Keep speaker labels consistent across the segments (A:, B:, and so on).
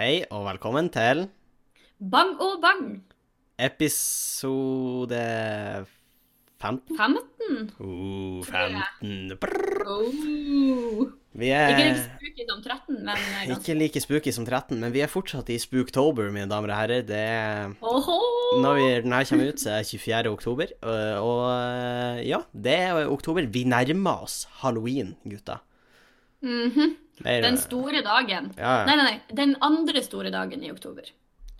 A: Hei, og velkommen til
B: Bang og bang.
A: episode 15.
B: 15.
A: Uh, 15. Brrr.
B: Oh.
A: Vi
B: Ikke like
A: er
B: spooky som 13, men eh,
A: Eh.
B: ganske
A: ikke like spooky som 13, men vi er fortsatt i spooktober, mine damer og herrer. Det er
B: Oho!
A: når vi, den her kommer ut, så er det 24. oktober. øh, Og øh, ja, det er oktober. Vi nærmer oss halloween, gutta.
B: Mhm.
A: Mer-
B: Den store dagen.
A: Ja,
B: Nei,
A: ja.
B: nei, nei. Den andre store dagen i oktober.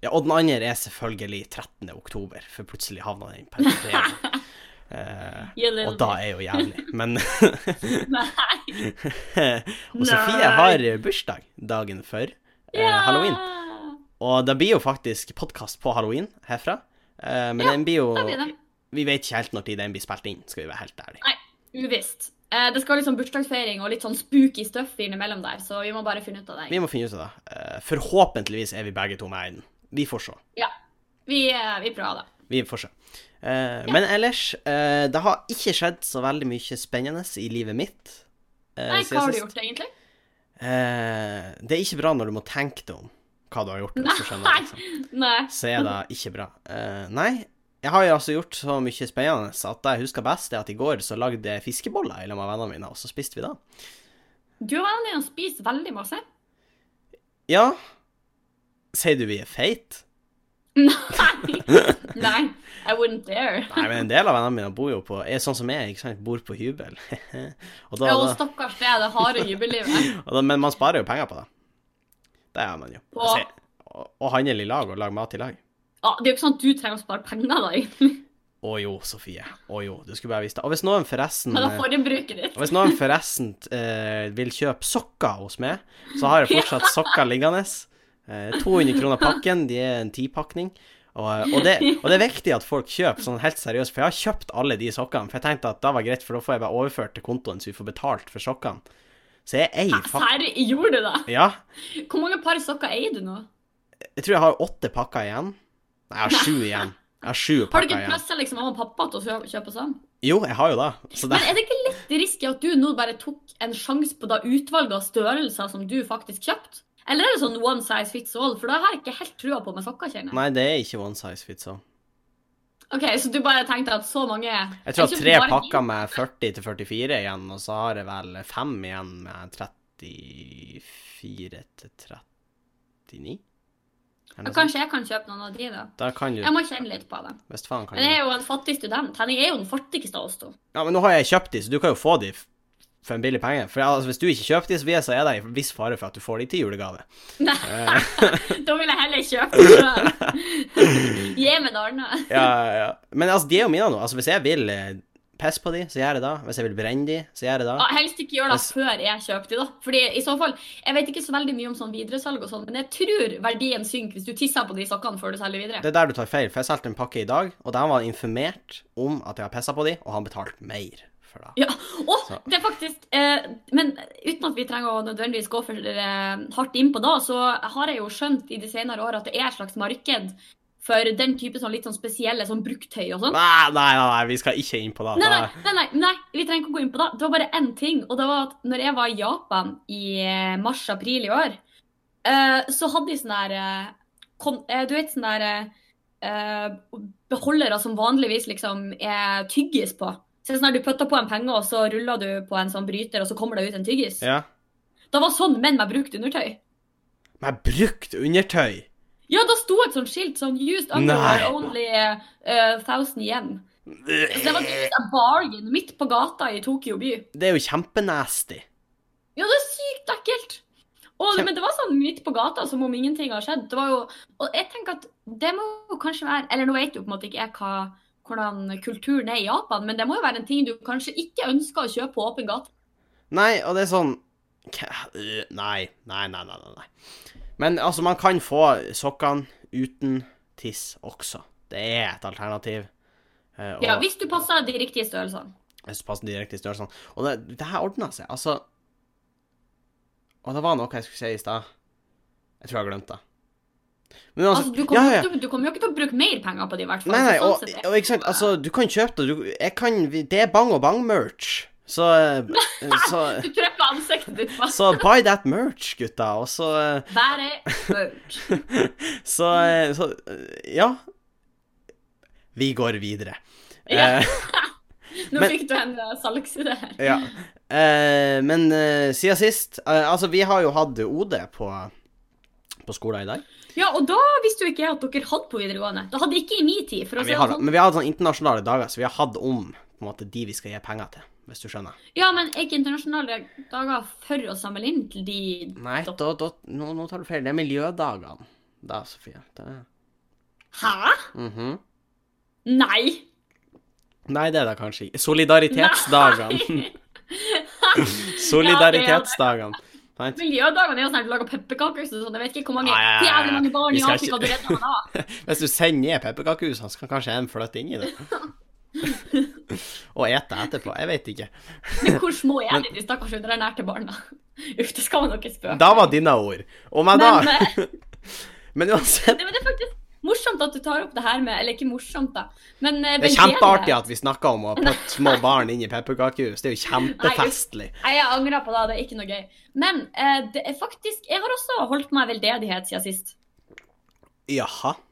A: ja, og den andre er selvfølgelig 13. oktober, for plutselig havna den på en fredag. Eh,
B: You little
A: og da er jo jævlig, men
B: bitch. Nei.
A: Og Sofie
B: Nei.
A: har bursdag dagen før eh, halloween. Og det blir jo faktisk podkast på halloween herfra. Eh, men
B: Ja,
A: den blir
B: Da blir
A: jo
B: det.
A: Vi vet ikke helt når tid den blir spilt inn, skal vi være helt ærlige.
B: Nei, uvisst. Eh, Det skal liksom bursdagsfeiring og litt sånn spooky stuff innimellom der, så vi må bare finne ut av det.
A: Vi må finne ut av det. Eh, forhåpentligvis er vi begge to med i den. Vi får se.
B: Ja. Vi, eh, vi prøver, da.
A: Vi får se. Eh, Men ellers, eh, det har ikke skjedd så veldig mye spennende i livet mitt. eh,
B: Nei,
A: siden
B: hva har du
A: sist.
B: gjort, egentlig?
A: Eh, det er ikke bra når du må tenke deg om hva du har gjort. Hvis du skjønner, liksom.
B: Nei. Nei.
A: så er det ikke bra. Eh, nei, jeg har jo altså gjort så mye spennende at det jeg husker best, er at i går så lagde jeg fiskeboller i lag med vennene mine, og så spiste vi det.
B: Du og vennene dine spiser veldig masse.
A: Ja, sier du vi er feit?
B: Nei. Nei, I wouldn't dare.
A: Nei, men en del av vennene mine bor jo på, er sånn som jeg, ikke sant, bor på hybel. og da, da,
B: Og stakkars det, det harde jubellivet.
A: og da, men man sparer jo penger på det. Det gjør man jo.
B: På-
A: Altså, jeg- og, og handle i lag og lage mat i lag.
B: Ja, det er jo ikke sånn at du trenger å spare penger, da, egentlig.
A: Å jo, Sofie. Å jo, du skulle bare visst det. Og hvis noen forresten...
B: Men da
A: eh,
B: får du bruke ditt.
A: Og hvis noen forresten eh, vil kjøpe sokker hos meg, så har jeg fortsatt sokker liggende. Eh, 200 kroner pakken, de er en tipakning. Og, og, det, og det er viktig at folk kjøper sånn helt seriøst, for jeg har kjøpt alle de sokkene. For jeg tenkte at det var greit, for da får jeg bare overført til kontoen, så vi får betalt for sokkene. Så jeg eier faktisk
B: Serr, gjorde du det?
A: Ja.
B: Hvor mange par sokker eier du nå?
A: Jeg tror jeg har åtte pakker igjen. Nei, jeg har sju igjen. Jeg har sju
B: Har du
A: pakker
B: ikke
A: igjen.
B: pressa liksom mamma og pappa til å kjø- kjøpe sånn?
A: Jo, jeg har jo det. Så det
B: Men er det ikke litt risky at du nå bare tok en sjanse på da utvalget av størrelser som du faktisk kjøpte? Eller er det sånn one size fits all? For da har jeg ikke helt trua på med sokker, kjenner jeg.
A: Nei, det er ikke one size fits all.
B: Ok, Så du bare tenkte at så mange
A: Jeg tror jeg
B: kjøpte
A: har tre
B: bare
A: pakker med 40 til 44 igjen, og så har jeg vel fem igjen med 34 til 39. Eller
B: Ja,
A: noe sånt.
B: Kanskje jeg kan kjøpe noen av de, da.
A: Da kan du
B: Jeg må kjenne litt på det.
A: Hvis faen kan
B: Men jeg
A: du
B: er jo en fattig student. Han er jo den fattigste av oss to.
A: Ja, men nå har jeg kjøpt de, så du kan jo få de f- for en billig penge. For altså, hvis du ikke kjøper de, så vil jeg- så er det en viss fare for at du får de til julegave.
B: Nei,
A: Eh,
B: da vil jeg heller kjøpe den selv. Gi meg noe annet.
A: ja, ja. Men altså, de er jo mine nå. Altså, hvis jeg vil eh, pisse på de, så gjør jeg det. Hvis jeg vil brenne de, så gjør jeg det.
B: Ah, Ja, helst ikke gjør det
A: Hvis-
B: før jeg kjøper de, da. Fordi i så fall Jeg vet ikke så veldig mye om sånn videresalg og sånn, men jeg tror verdien synker hvis du tisser på de sokkene før du selger videre.
A: Det er der du tar feil, for jeg solgte en pakke i dag, og de var informert om at jeg har pissa på de, og han betalte mer for det.
B: Ja. Og
A: Så-
B: det er faktisk eh, Men uten at vi trenger å nødvendigvis gå for eh, hardt innpå da, så har jeg jo skjønt i de senere åra at det er et slags marked for den type sånn litt sånn spesielle sånn bruktøy og sånn.
A: Nei, nei, nei, nei, vi skal ikke inn på det.
B: Nei,
A: Da-
B: nei, nei, nei, nei, vi trenger ikke å gå inn på det. Det var bare én ting. Og det var at når jeg var i Japan i eh, mars-april i år, eh, så hadde de sånn der eh, kon- eh, Du vet sånn der eh, eh, beholdere som vanligvis liksom er tyggis på. Så det er sånn der Du putter på en penge, og så ruller du på en sånn bryter, og så kommer det ut en tyggis.
A: Ja.
B: Det var sånn menn med brukt undertøy.
A: Men jeg brukt undertøy!
B: Ja, da sto et sånt skilt sånn Used
A: Nei.
B: underwear only eh, 1000 yen. Så det var tydeligvis en bargain midt på gata i Tokyo by.
A: Det er jo kjempenasty.
B: Ja, det er sykt ekkelt. Og,
A: Kjem-
B: men det var sånn midt på gata, som om ingenting har skjedd. Det var jo, og jeg tenker at det må jo kanskje være Eller nå vet jo på en måte ikke jeg hva, hvordan kulturen er i Japan, men det må jo være en ting du kanskje ikke ønsker å kjøpe på åpen gate.
A: Nei, og det er sånn K- øh, Nei, nei, nei, nei. nei, nei. Men altså, man kan få sokkene uten tiss også. Det er et alternativ. Eh, og
B: Ja, hvis du passer de riktige størrelsene.
A: Jeg så passet direkte i størrelsen. Og det, det her ordna seg, altså. Og det var noe jeg skulle si i stad. Jeg tror jeg har glemt det. Men
B: Altså, du kommer,
A: ja,
B: jo
A: ja, ja.
B: ikke- Du, kommer jo ikke til å bruke mer penger på det, i hvert fall.
A: Nei, nei,
B: så sånn
A: og,
B: sett er-
A: og ikke sant, altså, du kan kjøpe det. Du, jeg kan, vi- det er Bang og Bang-merch. Så, eh, så
B: Du trykka ansiktet ditt fast.
A: Så buy that merch, gutta. Og så eh,
B: Være merch.
A: Så, eh, så eh, Ja. Vi går videre.
B: Ja.
A: Eh,
B: Nå
A: Men-
B: fikk du en eh, salgsidé her.
A: ja. Eh, men eh, siden sist eh, Altså, vi har jo hatt OD på, på skolen i dag.
B: Ja, og da visste jo ikke jeg at dere hadde på videregående. Det hadde ikke i min tid, for å
A: Men
B: si
A: vi
B: det
A: har,
B: sånn.
A: men vi har hatt sånne internasjonale dager, så vi har hatt om på en måte, de vi skal gi penger til. Hvis du skjønner.
B: Ja, men er ikke internasjonale dager for å samle inn til de
A: Nei, da, da, nå, nå tar du feil. Det er miljødagene da, Sofie. Det er,
B: Hæ?
A: Mhm.
B: Nei!
A: Nei, det er det kanskje ikke. Solidaritetsdagene.
B: Nei.
A: Solidaritetsdagene. Sant?
B: Miljødagene er jo sånn at du lager pepperkakehus og sånn. Jeg vet ikke hvor mange,
A: Nei, nei, nei,
B: jævlig mange barn
A: vi
B: i
A: skal
B: Afrika du redder meg da.
A: Hvis du sender ned pepperkakehusene, så kan kanskje en flytte inn i det. Og ete etterpå. Jeg vet ikke.
B: Men hvor små er de, de stakkars underernærte barna? Uff, det skal man jo ikke spøke.
A: Da var dine ord. Og meg
B: Men,
A: da.
B: eh,
A: Men uansett,
B: nei, men det er faktisk morsomt at du tar opp det her med Eller ikke morsomt, da. Men
A: det
B: eh,
A: er
B: veldedighet.
A: kjempeartig at vi snakker om å putte små barn inn i pepperkakehus. Det er jo kjempefestlig.
B: Nei, jeg angrer på det. Det er ikke noe gøy. Men eh, det er faktisk Jeg har også holdt meg veldedighet siden sist.
A: Jaha.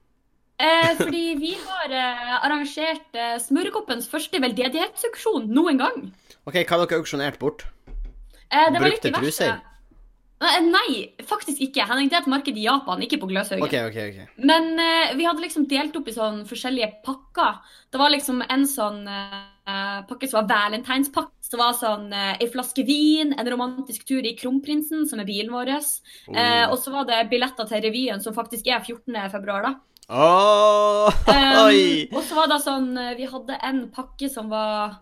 B: Eh, fordi vi har eh, arrangert eh, Smørkoppens første veldedighetsauksjon noen gang.
A: OK, hva har dere auksjonert bort?
B: Eh, det var litt
A: Brukte
B: diverse.
A: truser?
B: Nei, eh, Nei, faktisk ikke. Henning, det er et marked i Japan, ikke på Gløshaugen.
A: OK, OK. ok.
B: Men eh, vi hadde liksom delt opp i sånn forskjellige pakker. Det var liksom en sånn eh, pakke som var valentinspakke. Som var sånn eh, ei flaske vin, en romantisk tur i Kronprinsen, som er bilen vår. Eh,
A: Oh.
B: og så var det billetter til revyen, som faktisk er 14. februar, da.
A: Åh, Oi!
B: Um, og så var det sånn eh, Vi hadde en pakke som var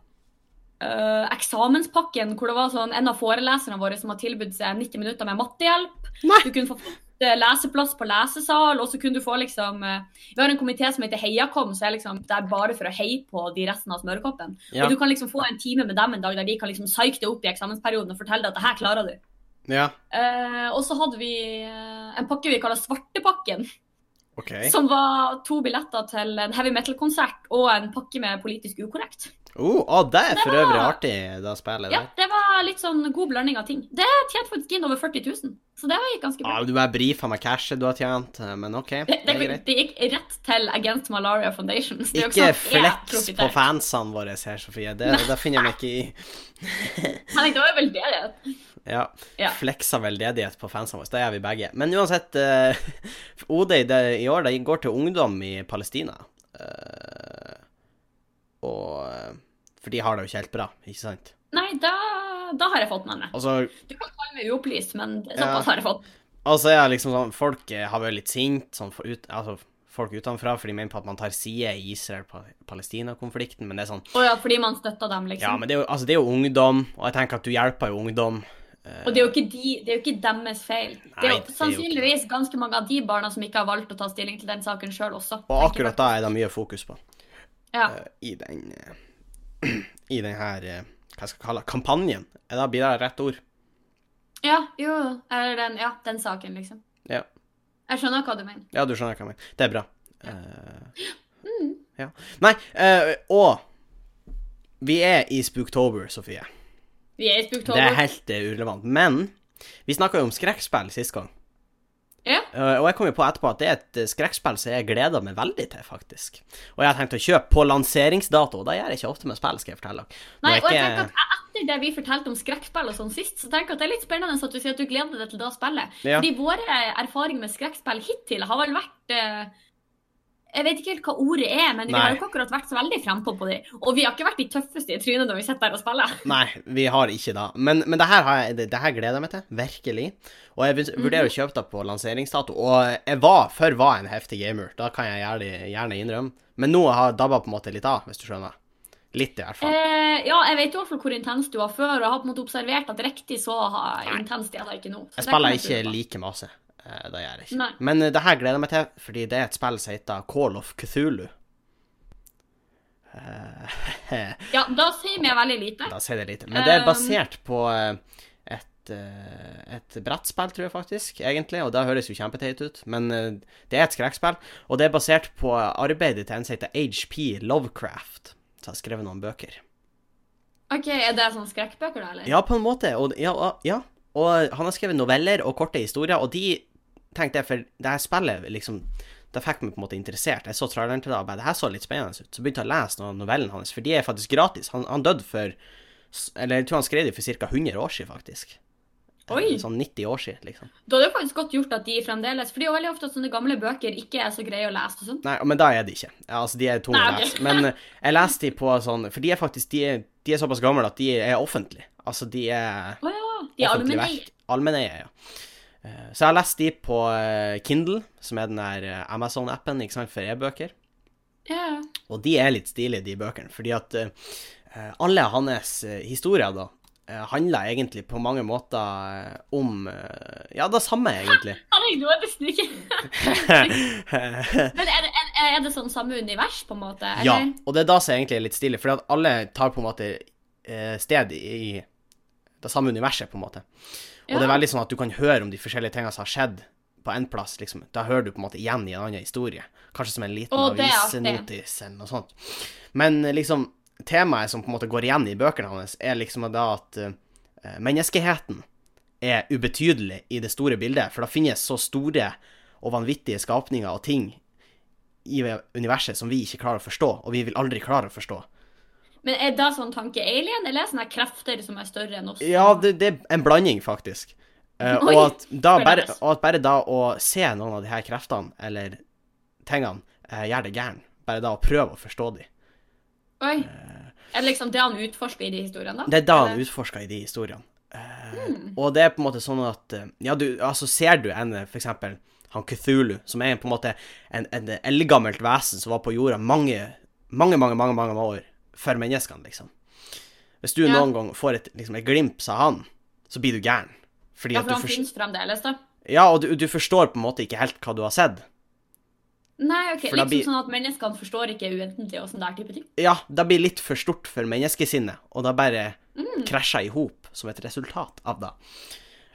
B: eh, eksamenspakken, hvor det var sånn en av foreleserne våre som har tilbudt seg 90 minutter med mattehjelp.
A: Nei.
B: Du kunne få eh, leseplass på lesesal, og så kunne du få liksom eh, Vi har en komité som heter Heiakom, så er liksom, det er bare for å heie på de resten av smørkoppen.
A: Ja.
B: Og du kan liksom få en time med dem en dag der de kan liksom psyke deg opp i eksamensperioden og fortelle deg at det her klarer du.
A: ja.
B: Eh, og så hadde vi eh, en pakke vi kaller Svartepakken.
A: OK.
B: Som var to billetter til en heavy metal-konsert og en pakke med politisk ukorrekt.
A: Oh, å, det er for
B: Det var-
A: øvrig artig, det spillet
B: Ja,
A: der.
B: Det var litt sånn god blanding av ting. Det tjente faktisk inn over 40 000, så det gikk ganske bra.
A: Ah, du bare brifa med cashet du har tjent, men OK.
B: Det,
A: Det er
B: det,
A: greit.
B: det gikk rett til Against Malaria Foundation. så det er jo
A: Ikke
B: sånn at jeg
A: flex på
B: profiterer.
A: fansene våre her, Sofie. Det, det finner jeg meg ikke i.
B: Henning, det var vel det. det.
A: Ja.
B: Ja.
A: Fleksa veldedighet på fansene våre. Det gjør vi begge. Men uansett, eh, OD i det, i år det går til ungdom i Palestina. Eh, og eh, For de har det jo ikke helt bra, ikke sant? Altså,
B: Nei, da, da har jeg fått med meg.
A: Og så
B: Du kan kalle meg uopplyst, men det-
A: Ja.
B: såpass har jeg fått.
A: og så er det liksom sånn Folk eh, har vært litt sint, sånn for ut, altså folk utenfra, for de mener på at man tar side i Israel-Palestina-konflikten, men det er sånn
B: Å ja, fordi man støtter dem, liksom.
A: Ja, men det er, jo, altså, det er jo ungdom, og jeg tenker at du hjelper jo ungdom.
B: Og det er jo ikke, de, det er jo ikke deres feil. det er
A: Nei,
B: jo
A: det er jo
B: sannsynligvis ganske mange av de barna som ikke har valgt å ta stilling til den saken sjøl også.
A: Og akkurat da er det mye fokus på.
B: Ja.
A: eh, I den eh, I den her eh, Hva skal jeg kalle det? Kampanjen? Er det, blir det rett ord?
B: Ja, jo. Eller den, ja, den saken, liksom.
A: Ja.
B: Jeg skjønner hva du mener.
A: ja, du skjønner hva jeg mener. Det er bra. Eh, ja. Nei, eh, og Vi er i Spooktober, Sofie.
B: Vi er
A: Det
B: i
A: er
B: Spooktober.
A: helt eh, urelevant. Men vi snakka jo om skrekkspill sist gang.
B: Ja.
A: Eh, og jeg kom jo på etterpå at det er et eh, skrekkspill som jeg gleder meg veldig til, faktisk. Og jeg har tenkt å kjøpe på lanseringsdato, og det gjør jeg ikke ofte med spill, skal jeg fortelle dere. Nå
B: Nei,
A: er
B: og jeg
A: ikke-
B: tenker at jeg- etter det vi fortalte om skrekkspill og sånn sist, så tenker jeg at det er litt spennende at du sier at du gleder deg til det spillet.
A: Ja.
B: Fordi våre erfaringer med skrekkspill hittil har vel vært eh, Jeg vet ikke helt hva ordet er, men vi
A: Nei.
B: har jo ikke akkurat vært så veldig frempå på det. Og vi har ikke vært de tøffeste i trynet når vi sitter der og spiller.
A: Nei, vi har ikke da. Men, men det, her har jeg, det, det her gleder jeg meg til. Virkelig. Og jeg
B: Mhm.
A: vurs- vurderer å kjøpe det på lanseringsdato. Og jeg var, før var jeg en heftig gamer. Da kan jeg gjerne, gjerne innrømme. Men nå har jeg dabba på en måte litt av, hvis du skjønner. Litt, i hvert fall.
B: Eh, ja, jeg vet i hvert fall hvor intens du var før, og jeg har på en måte observert at riktig så ha- intenst er det ikke nå. Så
A: Jeg
B: det kan
A: spiller
B: tro
A: ikke
B: på.
A: like masse. eh, Det gjør jeg ikke.
B: Nei.
A: Men eh, det her gleder jeg meg til, fordi det er et spill som heter Call of Cthulhu. Eh,
B: Ja, da sier vi veldig lite.
A: Da sier det lite. Men det er
B: Um,
A: basert på eh, et, eh, et brettspill, tror jeg faktisk, egentlig, og det høres jo kjempeteit ut, men eh, det er et skrekkspill, og det er basert på arbeidet til en som heter HP Lovecraft, som har skrevet noen bøker.
B: OK, er det sånn skrekkbøker, da, eller?
A: Ja, på en måte. Og, ja, og- ja. og han har skrevet noveller og korte historier, og de tenkte jeg, for det her spillet liksom Det fikk meg på en måte interessert. Jeg så traileren til det og bare det her så litt spennende ut. Så begynte jeg å lese noen av novellene hans, for de er faktisk gratis. Han, han døde for s- Eller jeg tror han skrev dem for ca. 100 år siden, faktisk. Eh,
B: Oi.
A: Sånn 90 år siden, liksom.
B: Da er det jo faktisk godt gjort at de fremdeles For det er jo veldig ofte at sånne gamle bøker ikke er så greie å lese og sånn.
A: Nei, men da er det ikke. Ja, Altså, de er tunge
B: Nei,
A: å
B: ok.
A: lese. Men eh, jeg leste de på sånn For de er faktisk de er, de er såpass gamle at de er offentlige. Altså, de er
B: Å ja. De er
A: offentlig
B: allmenneie.
A: verk. Allmenneie, ja. Eh, Så jeg har lest de på eh, Kindle, som er den der eh, Amazon-appen ikke sant, for e-bøker.
B: Ja, ja.
A: Og de er litt stilige, de bøkene, fordi at eh, alle hans eh, historier da eh, handler egentlig på mange måter eh, om eh, Ja, det samme, egentlig.
B: Herregud, nå er det snikker.
A: Eh,
B: Men er det, er, er det sånn samme univers, på en måte? Eller?
A: ja, og det er da som egentlig er litt stilig, fordi at alle tar på en måte eh, sted i det samme universet, på en måte. Og det er veldig sånn at du kan høre om de forskjellige tingene som har skjedd på en plass, liksom. Da hører du på en måte igjen i en annen historie. Kanskje som en liten
B: Å, det er artig.
A: avisenotis eller noe sånt. Men eh, liksom, temaet som på en måte går igjen i bøkene hans, er liksom da at eh, menneskeheten er ubetydelig i det store bildet, for det finnes så store og vanvittige skapninger og ting i universet som vi ikke klarer å forstå, og vi vil aldri klare å forstå.
B: Men er det sånn tanke alien, eller er det sånne krefter som er større enn oss?
A: Ja, det, det er en blanding, faktisk. Eh,
B: Oi,
A: og, at da bare,
B: spennende.
A: og at bare da å se noen av de her kreftene, eller tingene, eh, gjør det gæren. Bare da å prøve å forstå de.
B: Oi. Er det liksom det han utforsker i de historiene, da?
A: Det er da han
B: Eller-
A: utforsker i de historiene. Eh,
B: Hmm.
A: Og det er på en måte sånn at eh, Ja, du, altså ser du en, eh, for eksempel, han Cthulhu, som er på en måte en, en eldgammelt vesen som var på jorda mange, mange, mange, mange, mange år før menneskene, liksom. Hvis du
B: Ja.
A: noen gang får et, liksom, et glimt av han, så blir du gæren. Fordi
B: Ja,
A: at
B: for
A: du
B: han
A: forst-
B: finnes fremdeles, da.
A: Ja, og du, du forstår på en måte ikke helt hva du har sett.
B: Nei, ok,
A: For da
B: liksom
A: blir-
B: sånn at menneskene forstår ikke uendelig og sånn der type ting.
A: Ja, det blir litt for stort for menneskesinnet, og det bare krasjer i hop som et resultat av det.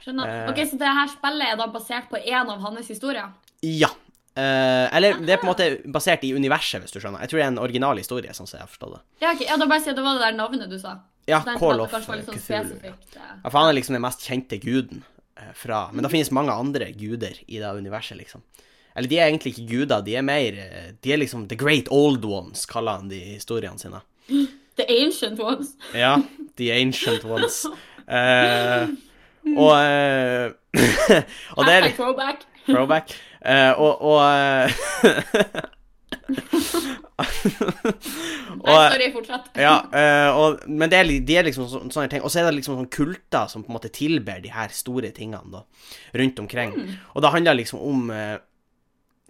B: Skjønner.
A: Eh.
B: Ok, Så det her spillet er da basert på en av hans historier?
A: Ja. Eh, eller det er på en måte basert i universet, hvis du skjønner. Jeg tror det er en original historie, sånn som jeg har forstått det.
B: Ja, ok, ja, da bare si at det var det der navnet du sa.
A: Ja,
B: Så tenkte jeg at
A: Call
B: det
A: of
B: kanskje var litt sånn
A: Cthulhu. Ja,
B: spesifikt, eh.
A: Ja, for han er liksom den mest kjente guden eh, fra Men det finnes mange andre guder i det universet, liksom. Eller de er egentlig ikke guder, de er mer eh, De er liksom The Great Old Ones, kaller han de i historiene sine.
B: The Ancient Ones.
A: Ja, The Ancient Ones. Eh, og eh, Og det er
B: Hashtag throwback.
A: throwback. Eh, og og, eh,
B: Nei,
A: og
B: sorry, fortsett.
A: ja, eh, og, men det er, li- de er liksom så, sånne ting. Og så er det liksom sånne kulter som på en måte tilber de her store tingene da, rundt omkring. Og det handler liksom om eh,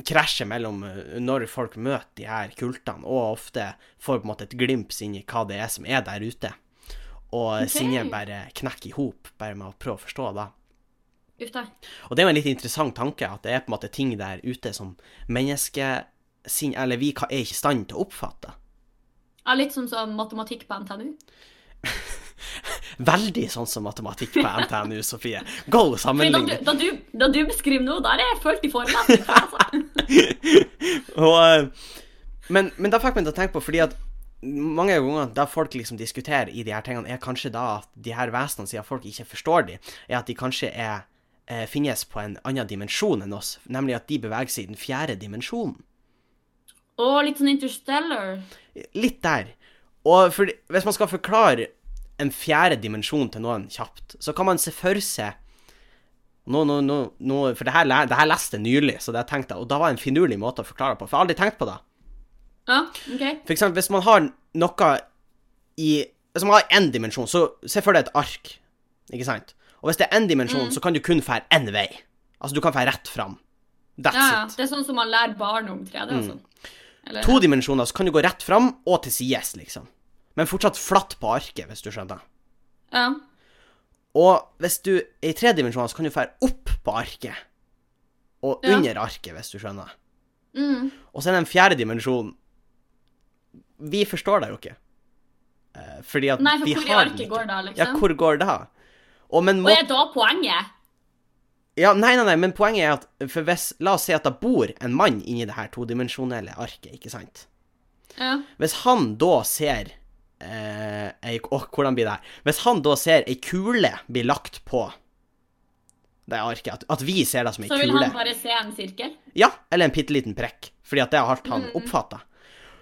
A: krasjet mellom eh, når folk møter de her kultene, og ofte får på en måte et glimt inn i hva det er som er der ute. Og
B: Ok.
A: sinnet bare knekker i hop, bare med å prøve å forstå det.
B: Uff da.
A: Og det er jo en litt interessant tanke, at det er på en måte ting der ute som menneskesinn, eller vi ka- er ikke i stand til å oppfatte.
B: Ja, litt som sånn matematikk på NTNU.
A: Veldig sånn som matematikk på NTNU, Sofie. Go
B: Fordi Da du,
A: sammenligning!
B: da, du, da du beskriver nå, der er jeg følt i forelesning. Altså.
A: Og, eh, men, men da fikk meg til å tenke på, fordi at mange ganger da folk liksom diskuterer i de her tingene, er kanskje da at de her vesenene, siden folk ikke forstår de, er at de kanskje er, eh, finnes på en annen dimensjon enn oss, nemlig at de beveger seg i den fjerde dimensjonen.
B: Og litt sånn interstellar.
A: Litt der. Og for, hvis man skal forklare en fjerde dimensjon til noen kjapt, så kan man se for seg nå, nå, nå, nå, For det her, le- det her leste jeg nylig, så det jeg tenkte, og da var det en finurlig måte å forklare det på. For jeg har aldri tenkt på det.
B: Ja, ok.
A: For eksempel, hvis man har noe i Hvis man har én dimensjon, så se for deg et ark. Ikke sant? Og hvis det er én
B: Mm.
A: dimensjon, så kan du kun fære én vei. Altså, du kan fære rett fram. That's
B: Ja, ja.
A: it. Mm.
B: Det er sånn som man lærer barn om 3D og sånn. Eller-
A: To dimensjoner, så kan du gå rett fram og til sides, liksom. Men fortsatt flatt på arket, hvis du skjønner.
B: Ja.
A: Og hvis du er i tre dimensjoner, så kan du fære opp på arket. Og
B: Ja.
A: under arket, hvis du skjønner.
B: Mm.
A: Og så er det den fjerde dimensjonen. Vi forstår det jo ikke. Eh, Fordi at
B: Nei, for
A: vi
B: hvor i
A: har
B: arket
A: den ikke.
B: går da, liksom?
A: Ja, hvor går det? Og men
B: Og
A: må...
B: er da poenget?
A: ja, nei, nei, nei, men poenget er at for hvis, La oss si at det bor en mann inni det her todimensjonelle arket, ikke sant?
B: Ja.
A: Hvis han da ser eh, ei, åh, hvordan blir det her? Hvis han da ser ei kule bli lagt på det arket, at, at vi ser det som ei
B: Så vil
A: kule
B: han bare se en sirkel.
A: Ja, eller en bitte liten prekk, fordi at det har han
B: Mm.
A: oppfatta.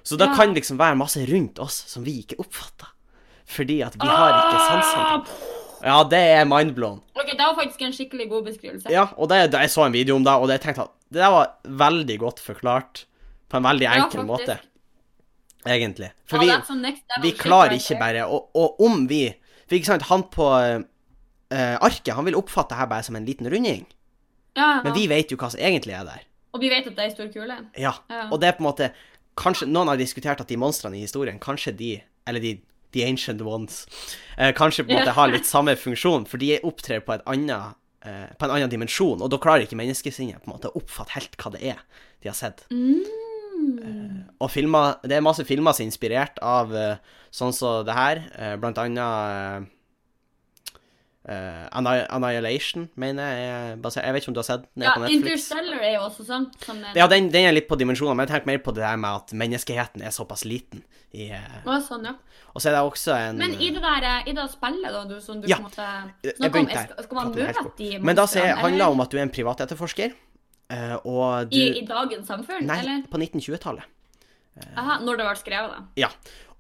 A: Så det
B: Ja.
A: kan liksom være masse rundt oss som vi ikke oppfatter. Fordi at vi har ikke sansene.
B: Ah,
A: Ja, det er mindblown.
B: Ok, Det var faktisk en skikkelig god beskrivelse.
A: Ja, og det, det, jeg så en video om det, og det tenkte jeg at det der var veldig godt forklart. På en veldig
B: Ja,
A: enkel
B: faktisk.
A: måte, egentlig. For
B: Ja,
A: vi,
B: that's some next level
A: vi
B: shit
A: klarer
B: right
A: ikke
B: there.
A: bare Og, og om vi For ikke sant, han på eh, arket, han vil oppfatte her bare som en liten runding.
B: ja, ja.
A: Men vi vet jo hva som egentlig er der.
B: Og vi vet at det er ei stor kule.
A: Ja.
B: Ja.
A: Og det er på en måte Kanskje noen har diskutert at de monstrene i historien, kanskje de Eller de The Ancient Ones eh, Kanskje på en måte har litt samme funksjon, for de opptrer på, et annet, eh, på en annen dimensjon, og da klarer ikke menneskesinnet på en måte å oppfatte helt hva det er de har sett.
B: Mm.
A: Og filmer, det er masse filmer som er inspirert av eh, sånn som det her, eh, blant annet eh, eh, Anni- Annihilation, mener jeg. er basert- Jeg vet ikke om du har sett den? er
B: Ja,
A: på Netflix.
B: Interstellar er jo også sånn. Som en...
A: Ja, den, den er litt på dimensjoner, men jeg tenker mer på det der med at menneskeheten er såpass liten. I, eh,
B: Å, sånn, ja.
A: og så er det også en
B: Men i det der, eh, i det spillet da, du, som du
A: Mm. Ja.
B: på en måte
A: Jeg
B: snakket om,
A: begynte her.
B: skal- skal man
A: Prater helt
B: møte
A: bort.
B: de
A: Men da sier-
B: monstrene,
A: handler det
B: eller?
A: om at du er en privatetterforsker, eh, og du
B: I, I dagens samfunn,
A: Nei,
B: eller?
A: på 1920-tallet.
B: Aha, når det ble skrevet, da.
A: Ja.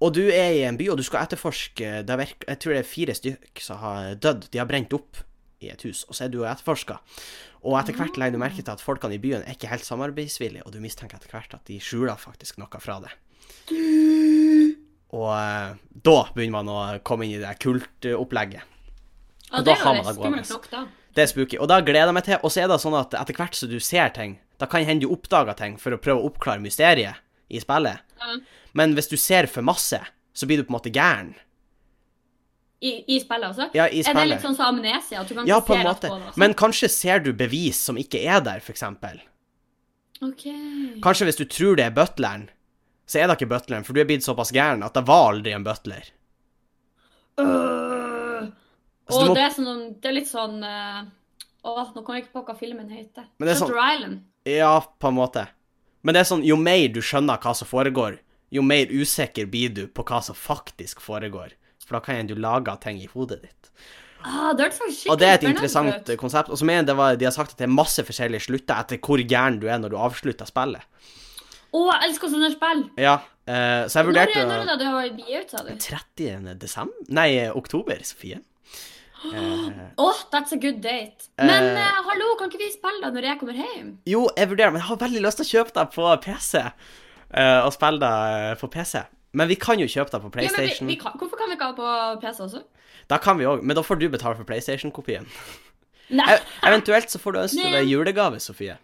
A: Og du er i en by, og du skal etterforske det virk, Jeg tror det er fire stykk som har dødd. De har brent opp i et hus, og så er du og etterforsker. Og etter hvert legger du merke til at folkene i byen er ikke helt samarbeidsvillige, og du mistenker etter hvert at de skjuler faktisk noe fra det. Og eh, da begynner man å komme inn i det kultopplegget.
B: Ja,
A: Og
B: det
A: da
B: er
A: har
B: jo
A: man det
B: det
A: gående.
B: skummelt nok, da.
A: Det er spooky. Og da gleder jeg meg til. Og så er det sånn at etter hvert som du ser ting, da kan hende du oppdager ting for å prøve å oppklare mysteriet i spillet.
B: Ja.
A: Men hvis du ser for masse, så blir du på en måte gæren.
B: I, I spillet også?
A: Ja, i
B: Er det
A: spillet.
B: litt sånn som amnesia? At du kan
A: Ja,
B: ikke
A: på en
B: se rett
A: måte.
B: på det? også?
A: Men kanskje ser du bevis som ikke er der, for eksempel.
B: Ok.
A: Kanskje hvis du tror det er butleren, så er det ikke butleren, for du er blitt såpass gæren at det var aldri en butler.
B: Øh.
A: Så Altså, du
B: Og
A: må-
B: det, er sånn, det er litt sånn eh, Åh, nå kommer jeg ikke på hva filmen heter.
A: Men det er sånn-
B: Shutter Island.
A: Ja, på en måte. Men det er sånn, jo mer du skjønner hva som foregår, jo mer usikker blir du på hva som faktisk foregår. For da kan hende du lager ting i hodet ditt.
B: Ah, det hørtes faktisk skikkelig
A: Og det er et
B: spennende
A: interessant
B: ut.
A: konsept. Og så mener jeg det var, de har sagt at det er masse forskjellige slutter etter hvor gæren du er når du avslutter spillet.
B: Å, jeg elsker sånne spill.
A: Ja, eh, så jeg
B: Når er
A: vurderte Eh.
B: når er det du har gitt ut, sa du?
A: 30. desember? Nei, oktober, Sofie. Eh,
B: Åh, that's a good date. Men
A: Eh.
B: eh, hallo, kan ikke vi spille da når jeg kommer hjem?
A: jo, jeg vurderer, men jeg har veldig lyst til å kjøpe deg på PC. eh, og spille deg på PC. Men vi kan jo kjøpe deg på
B: Ja, men vi,
A: PlayStation. Eh.
B: vi kan, hvorfor kan vi ikke ha på PC også?
A: Da kan vi òg, men da får du betale for PlayStation-kopien.
B: Nei,
A: Ev- Eventuelt så får du ønske
B: Nei.
A: deg julegave, Sofie.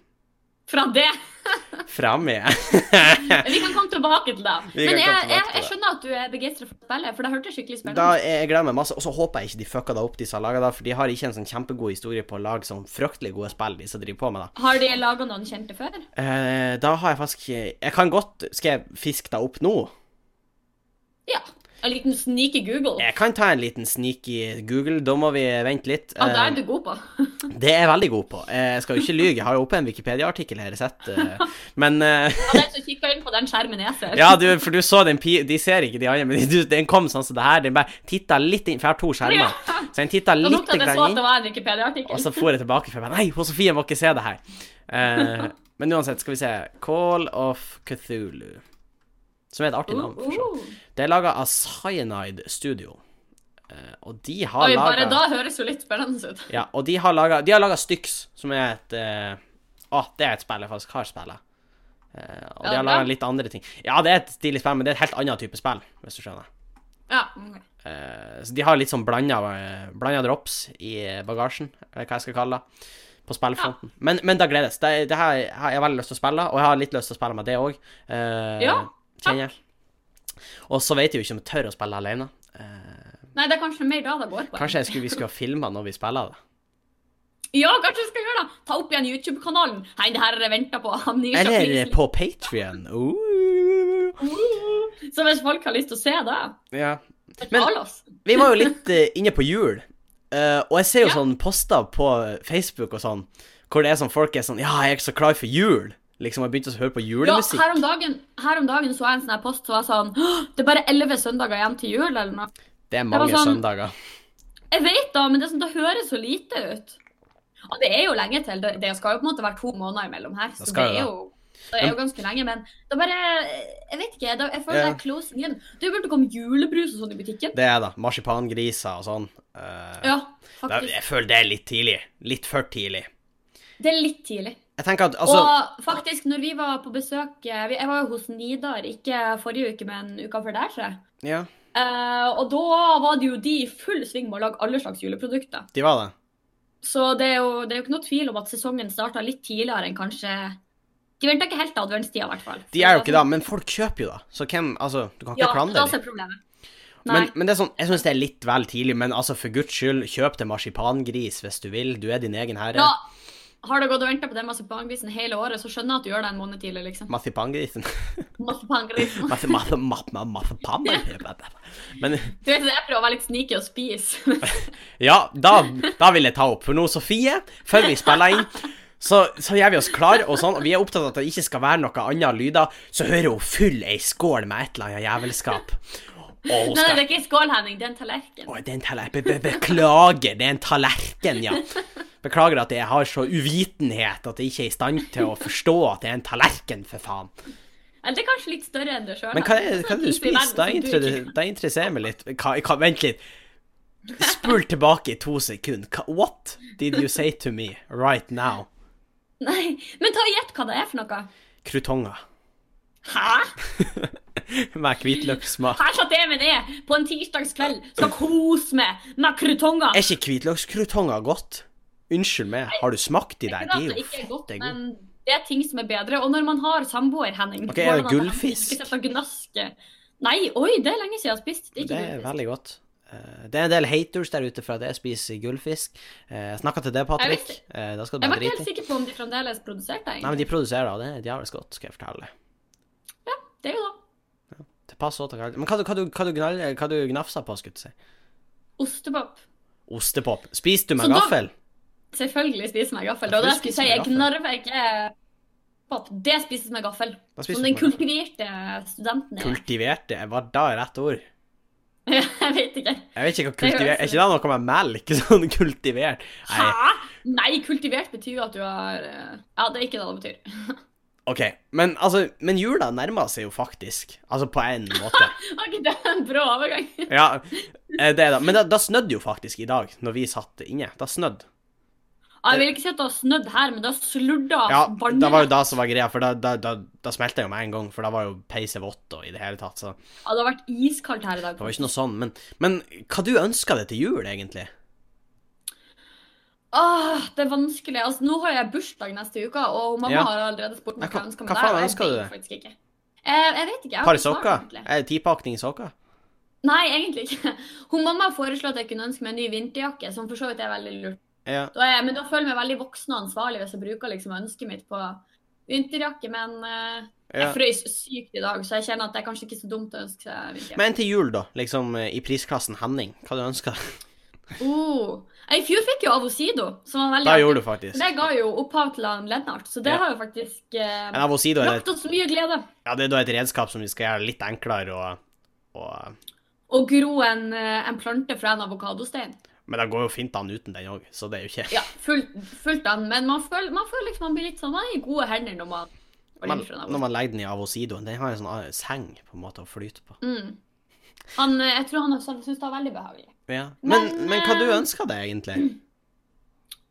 B: fra det.
A: Fra meg.
B: Vi kan komme tilbake til det.
A: Vi kan komme
B: Men jeg,
A: tilbake
B: jeg,
A: til
B: jeg
A: det.
B: skjønner at du er begeistret for spillet, for det hørtes skikkelig spennende
A: Da
B: ut.
A: jeg jeg gleder meg masse, og så håper jeg ikke de fucka deg opp, de som har laga det, for de har ikke en sånn kjempegod historie på å lage sånn fryktelig gode spill, de som driver på med det.
B: Har de laga noen kjente før?
A: Eh, da har jeg faktisk Jeg kan godt Skal jeg fiske deg opp nå?
B: Ja. En liten sneaky Google.
A: Jeg kan ta en liten sneak i Google, da må vi vente litt.
B: Ja, det
A: Eh,
B: er du god på.
A: Det er jeg veldig god på. Eh, Jeg skal jo ikke lyge, jeg har jo oppe en Wikipedia-artikkel her, jeg har sett. eh, Men eh,
B: Ja, den som kikker inn på den skjermen jeg ser.
A: Ja, du, for du så den pi... De ser ikke de andre, men du, den kom sånn som det her. Den bare titta litt inn, for jeg har to skjermer.
B: Ja.
A: Så den titta
B: Det var
A: litt
B: nok at jeg så
A: grann
B: at
A: inn,
B: det var en
A: og
B: Wikipedia-artikkel.
A: så for jeg tilbake. For jeg bare Nei, hun Sofie må ikke se det her. Eh, men uansett, skal vi se. Call of Cthulhu. Som er et artig navn. for så vidt.
B: Uh, uh.
A: Det er laga av Cyanide Studio. Eh, og de har
B: Oi, bare
A: laga
B: da høres jo litt spennende ut.
A: ja, Og de har laga De har laga Styx, som er et eh, Å, det er et spill jeg faktisk har spilla. og
B: Ja,
A: de har
B: bra.
A: laga litt andre ting. Ja, det er et stilig spill, men det er et helt annet type spill, hvis du skjønner.
B: Ja, ok.
A: Eh, så de har litt sånn blanda, blanda drops i eh, bagasjen, eller hva jeg skal kalle det, på spillfronten. Men, men da gledes. Det, det her har jeg veldig lyst til å spille, og jeg har litt lyst til å spille med det òg.
B: Ja,
A: kjenner jeg. Og så vet jeg jo ikke om jeg tør å spille alene. Eh,
B: Nei, det er kanskje mer da det går på.
A: kanskje jeg skulle, vi skulle ha filma når vi spiller det.
B: Ja, kanskje vi skal gjøre det. Ta opp igjen YouTube-kanalen. Nei, det her har jeg venta på. Han nyser
A: Eller
B: prisen.
A: på Patrion. Uh.
B: Uh, Så hvis folk har lyst til å se det,
A: Ja. Men-
B: betal oss.
A: Vi var jo litt eh, inne på jul, eh, og jeg ser jo
B: Ja.
A: sånn poster på Facebook og sånn, hvor det er sånn folk er sånn Ja, jeg er ikke så klar for jul. liksom har begynt å høre på
B: Ja,
A: julemusikk.
B: her om, dagen, her om dagen så jeg en sånn her post som var sånn «Åh, Det er bare elleve søndager igjen til jul, eller noe.
A: Det er
B: var
A: mange
B: sånn-
A: søndager.
B: Jeg vet da, men det, er sånn, det høres så lite ut. Og det er jo lenge til. Det, det skal jo på en måte være to måneder imellom her. Så
A: Det
B: det,
A: skal jo
B: er
A: det.
B: jo det er jo ganske lenge, men det er bare Jeg vet ikke. Det, jeg føler
A: Ja.
B: det er closing in. Det burde komme julebrus og sånn i butikken.
A: Det er da. Marsipangriser og sånn. Eh,
B: Ja,
A: det,
B: faktisk.
A: jeg føler det er litt tidlig. Litt for tidlig.
B: Det er litt tidlig.
A: Jeg tenker at altså
B: og faktisk, når vi var på besøk eh, vi- Jeg var jo hos Nidar, ikke forrige uke, men uka før der, tror jeg.
A: Ja,
B: Eh, og da var det jo de i full sving med å lage alle slags juleprodukter.
A: de var det.
B: Så det er jo, det er jo ikke noe tvil om at sesongen starta litt tidligere enn kanskje De venta ikke helt til adventstida, i hvert fall.
A: De er jo ikke da, men folk kjøper jo da. Så hvem Altså, du kan ikke
B: Ja,
A: klandre
B: da
A: dem.
B: er problemet. Nei.
A: Men, men det er sånn, jeg syns det er litt vel tidlig, men altså, for guds skyld, kjøp deg marsipangris hvis du vil. Du er din egen herre.
B: ja, har du gått og venta på den marsipangrisen hele året, så skjønner jeg at du gjør det en måned tidlig, liksom.
A: Marsipangrisen.
B: Marsipangrisen.
A: Marsi- marsi- mar- mar- marsipangrisen. Men
B: Du vet, jeg prøver å være litt sneaky og spise.
A: Ja, da, da vil jeg ta opp. For nå, Sofie, før vi spiller inn, så, så gjør vi oss klar, og sånn, og vi er opptatt av at det ikke skal være noe annet lyder. Så hører hun full ei skål med et eller annet jævelskap. Og hun
B: Nei, det
A: skal
B: er ikke en skål, Henning, det er en tallerken.
A: Å, det er en tallerken. Be, be, beklager, det er en tallerken, ja. Beklager at jeg har så uvitenhet at jeg ikke er i stand til å forstå at det er en tallerken, for faen.
B: Eller det er kanskje litt større enn det Sånn sjøl.
A: Men hva er, hva er det du spiser? Da, inter- da interesserer jeg meg litt. Hva, hva, vent litt. Spul tilbake i to sekunder. Hva, what did you say to me right now?
B: Nei, men ta og gjett hva det er for noe.
A: Krutonger
B: Hæ?
A: med hvitløkssmak.
B: Her satt jeg med det på en tirsdagskveld, skal kose meg med krutonger.
A: Er ikke hvitløkskrutonger godt? Unnskyld meg, har du smakt de der?
B: Ikke at
A: De
B: det
A: er jo
B: ikke er godt,
A: fette gode.
B: men det er ting som er bedre. Og når man har samboer, Henning
A: Ok,
B: går
A: er det
B: an at man
A: gullfisk?
B: Ikke sitter og gnasker. Nei, oi, det er lenge siden jeg har spist. Det er
A: Det
B: ikke
A: er
B: gullfisk.
A: veldig godt. Eh, Det er en del haters der ute for at jeg spiser gullfisk. Eh, Jeg snakka til deg,
B: Jeg
A: Patrick.
B: visste-
A: Eh, Da skal du
B: Jeg
A: bare
B: var ikke helt
A: drite i.
B: sikker på om de fremdeles produserte
A: Nei, men
B: egentlig.
A: de produserer da, det er djevelsk godt, skal jeg fortelle.
B: Det er jo da
A: Det passer også til kald- Men hva, du- hva, du- hva, du gnal- hva du gnafsa på, skulle jeg til å si?
B: ostepop.
A: Ostepop. Spiste du med
B: Så da-
A: gaffel?
B: Selvfølgelig spises med gaffel.
A: Ja,
B: Og det
A: for det
B: jeg skulle si, jeg
A: spises med
B: knarver ikke pop. Det spises med gaffel.
A: Da spiser
B: Som
A: du
B: den
A: med gaffel.
B: kultiverte studenten er.
A: Kultiverte? Var da rett ord?
B: Jeg vet ikke.
A: Jeg vet ikke hva
B: Det høres
A: kultivert Er
B: litt-
A: ikke det noe med melk? Sånn kultivert? Nei.
B: Hæ? Nei, kultivert betyr jo at du har eh, Ja, det er ikke det det betyr.
A: OK. Men altså, men jula nærmer seg jo faktisk. Altså på en måte.
B: Ok, det er en brå overgang.
A: Ja, eh, det er da. Men da, da snødde jo faktisk i dag, når vi satt inne. Da snødde.
B: Ja, Jeg vil ikke si at det har snødd her, men det har sludda
A: Ja,
B: vanlig.
A: det var jo da som var greia, for da, da, da, da smelta jeg jo med en gang, for da var jo peiset vått og i det hele tatt, så det
B: Ja, det har vært iskaldt her i dag.
A: var jo ikke noe sånn. Men, men hva du ønska deg til jul, egentlig?
B: Åh, det er vanskelig. Altså, nå har jeg bursdag neste uke, og mamma
A: Ja.
B: har allerede spurt
A: Ja,
B: meg
A: hva-
B: hva jeg ønsker
A: hva
B: meg
A: faen
B: der. og jeg
A: ønsker du
B: vet
A: deg?
B: faktisk ikke. Eh, jeg vet ikke. jeg har
A: Par
B: ikke svar,
A: sokker?
B: egentlig.
A: Eh, Tipakning sokker?
B: Nei, egentlig ikke. Hun mamma foreslo at jeg kunne ønske meg en ny vinterjakke, som for så vidt er veldig lurt.
A: Ja.
B: Da er, men da føler jeg meg veldig voksen og ansvarlig hvis jeg bruker liksom ønsket mitt på vinterjakke, men eh,
A: ja.
B: jeg frøs sykt i dag, så jeg kjenner at det er kanskje ikke så dumt å ønske seg vinterjakke.
A: Men til jul, da? Liksom eh, i prisklassen Henning, hva du ønska?
B: Oh. I fjor fikk jeg jo Avocido, som var veldig
A: Da
B: artig.
A: gjorde du faktisk.
B: Det ga jo opphav til han Lennart, så det
A: Ja.
B: har jo faktisk eh,
A: En avosido er,
B: brakt oss mye glede.
A: ja, det er da et redskap som vi skal gjøre litt enklere og, og
B: Å gro en, eh, en plante fra en avokadostein.
A: Men det går jo fint an uten den òg, så det er jo ikke
B: Ja, fullt, fullt an, men man føler, man føler liksom man blir litt sånn Man er i gode hender når man får
A: Men
B: litt fra en
A: når man legger den i avosidoen, den har en sånn eh, seng på en måte å flyte på.
B: Mm. Han, eh, jeg tror han også synes det var veldig behagelig.
A: Ja. Men,
B: Men,
A: men hva du
B: eh,
A: ønsker deg, egentlig?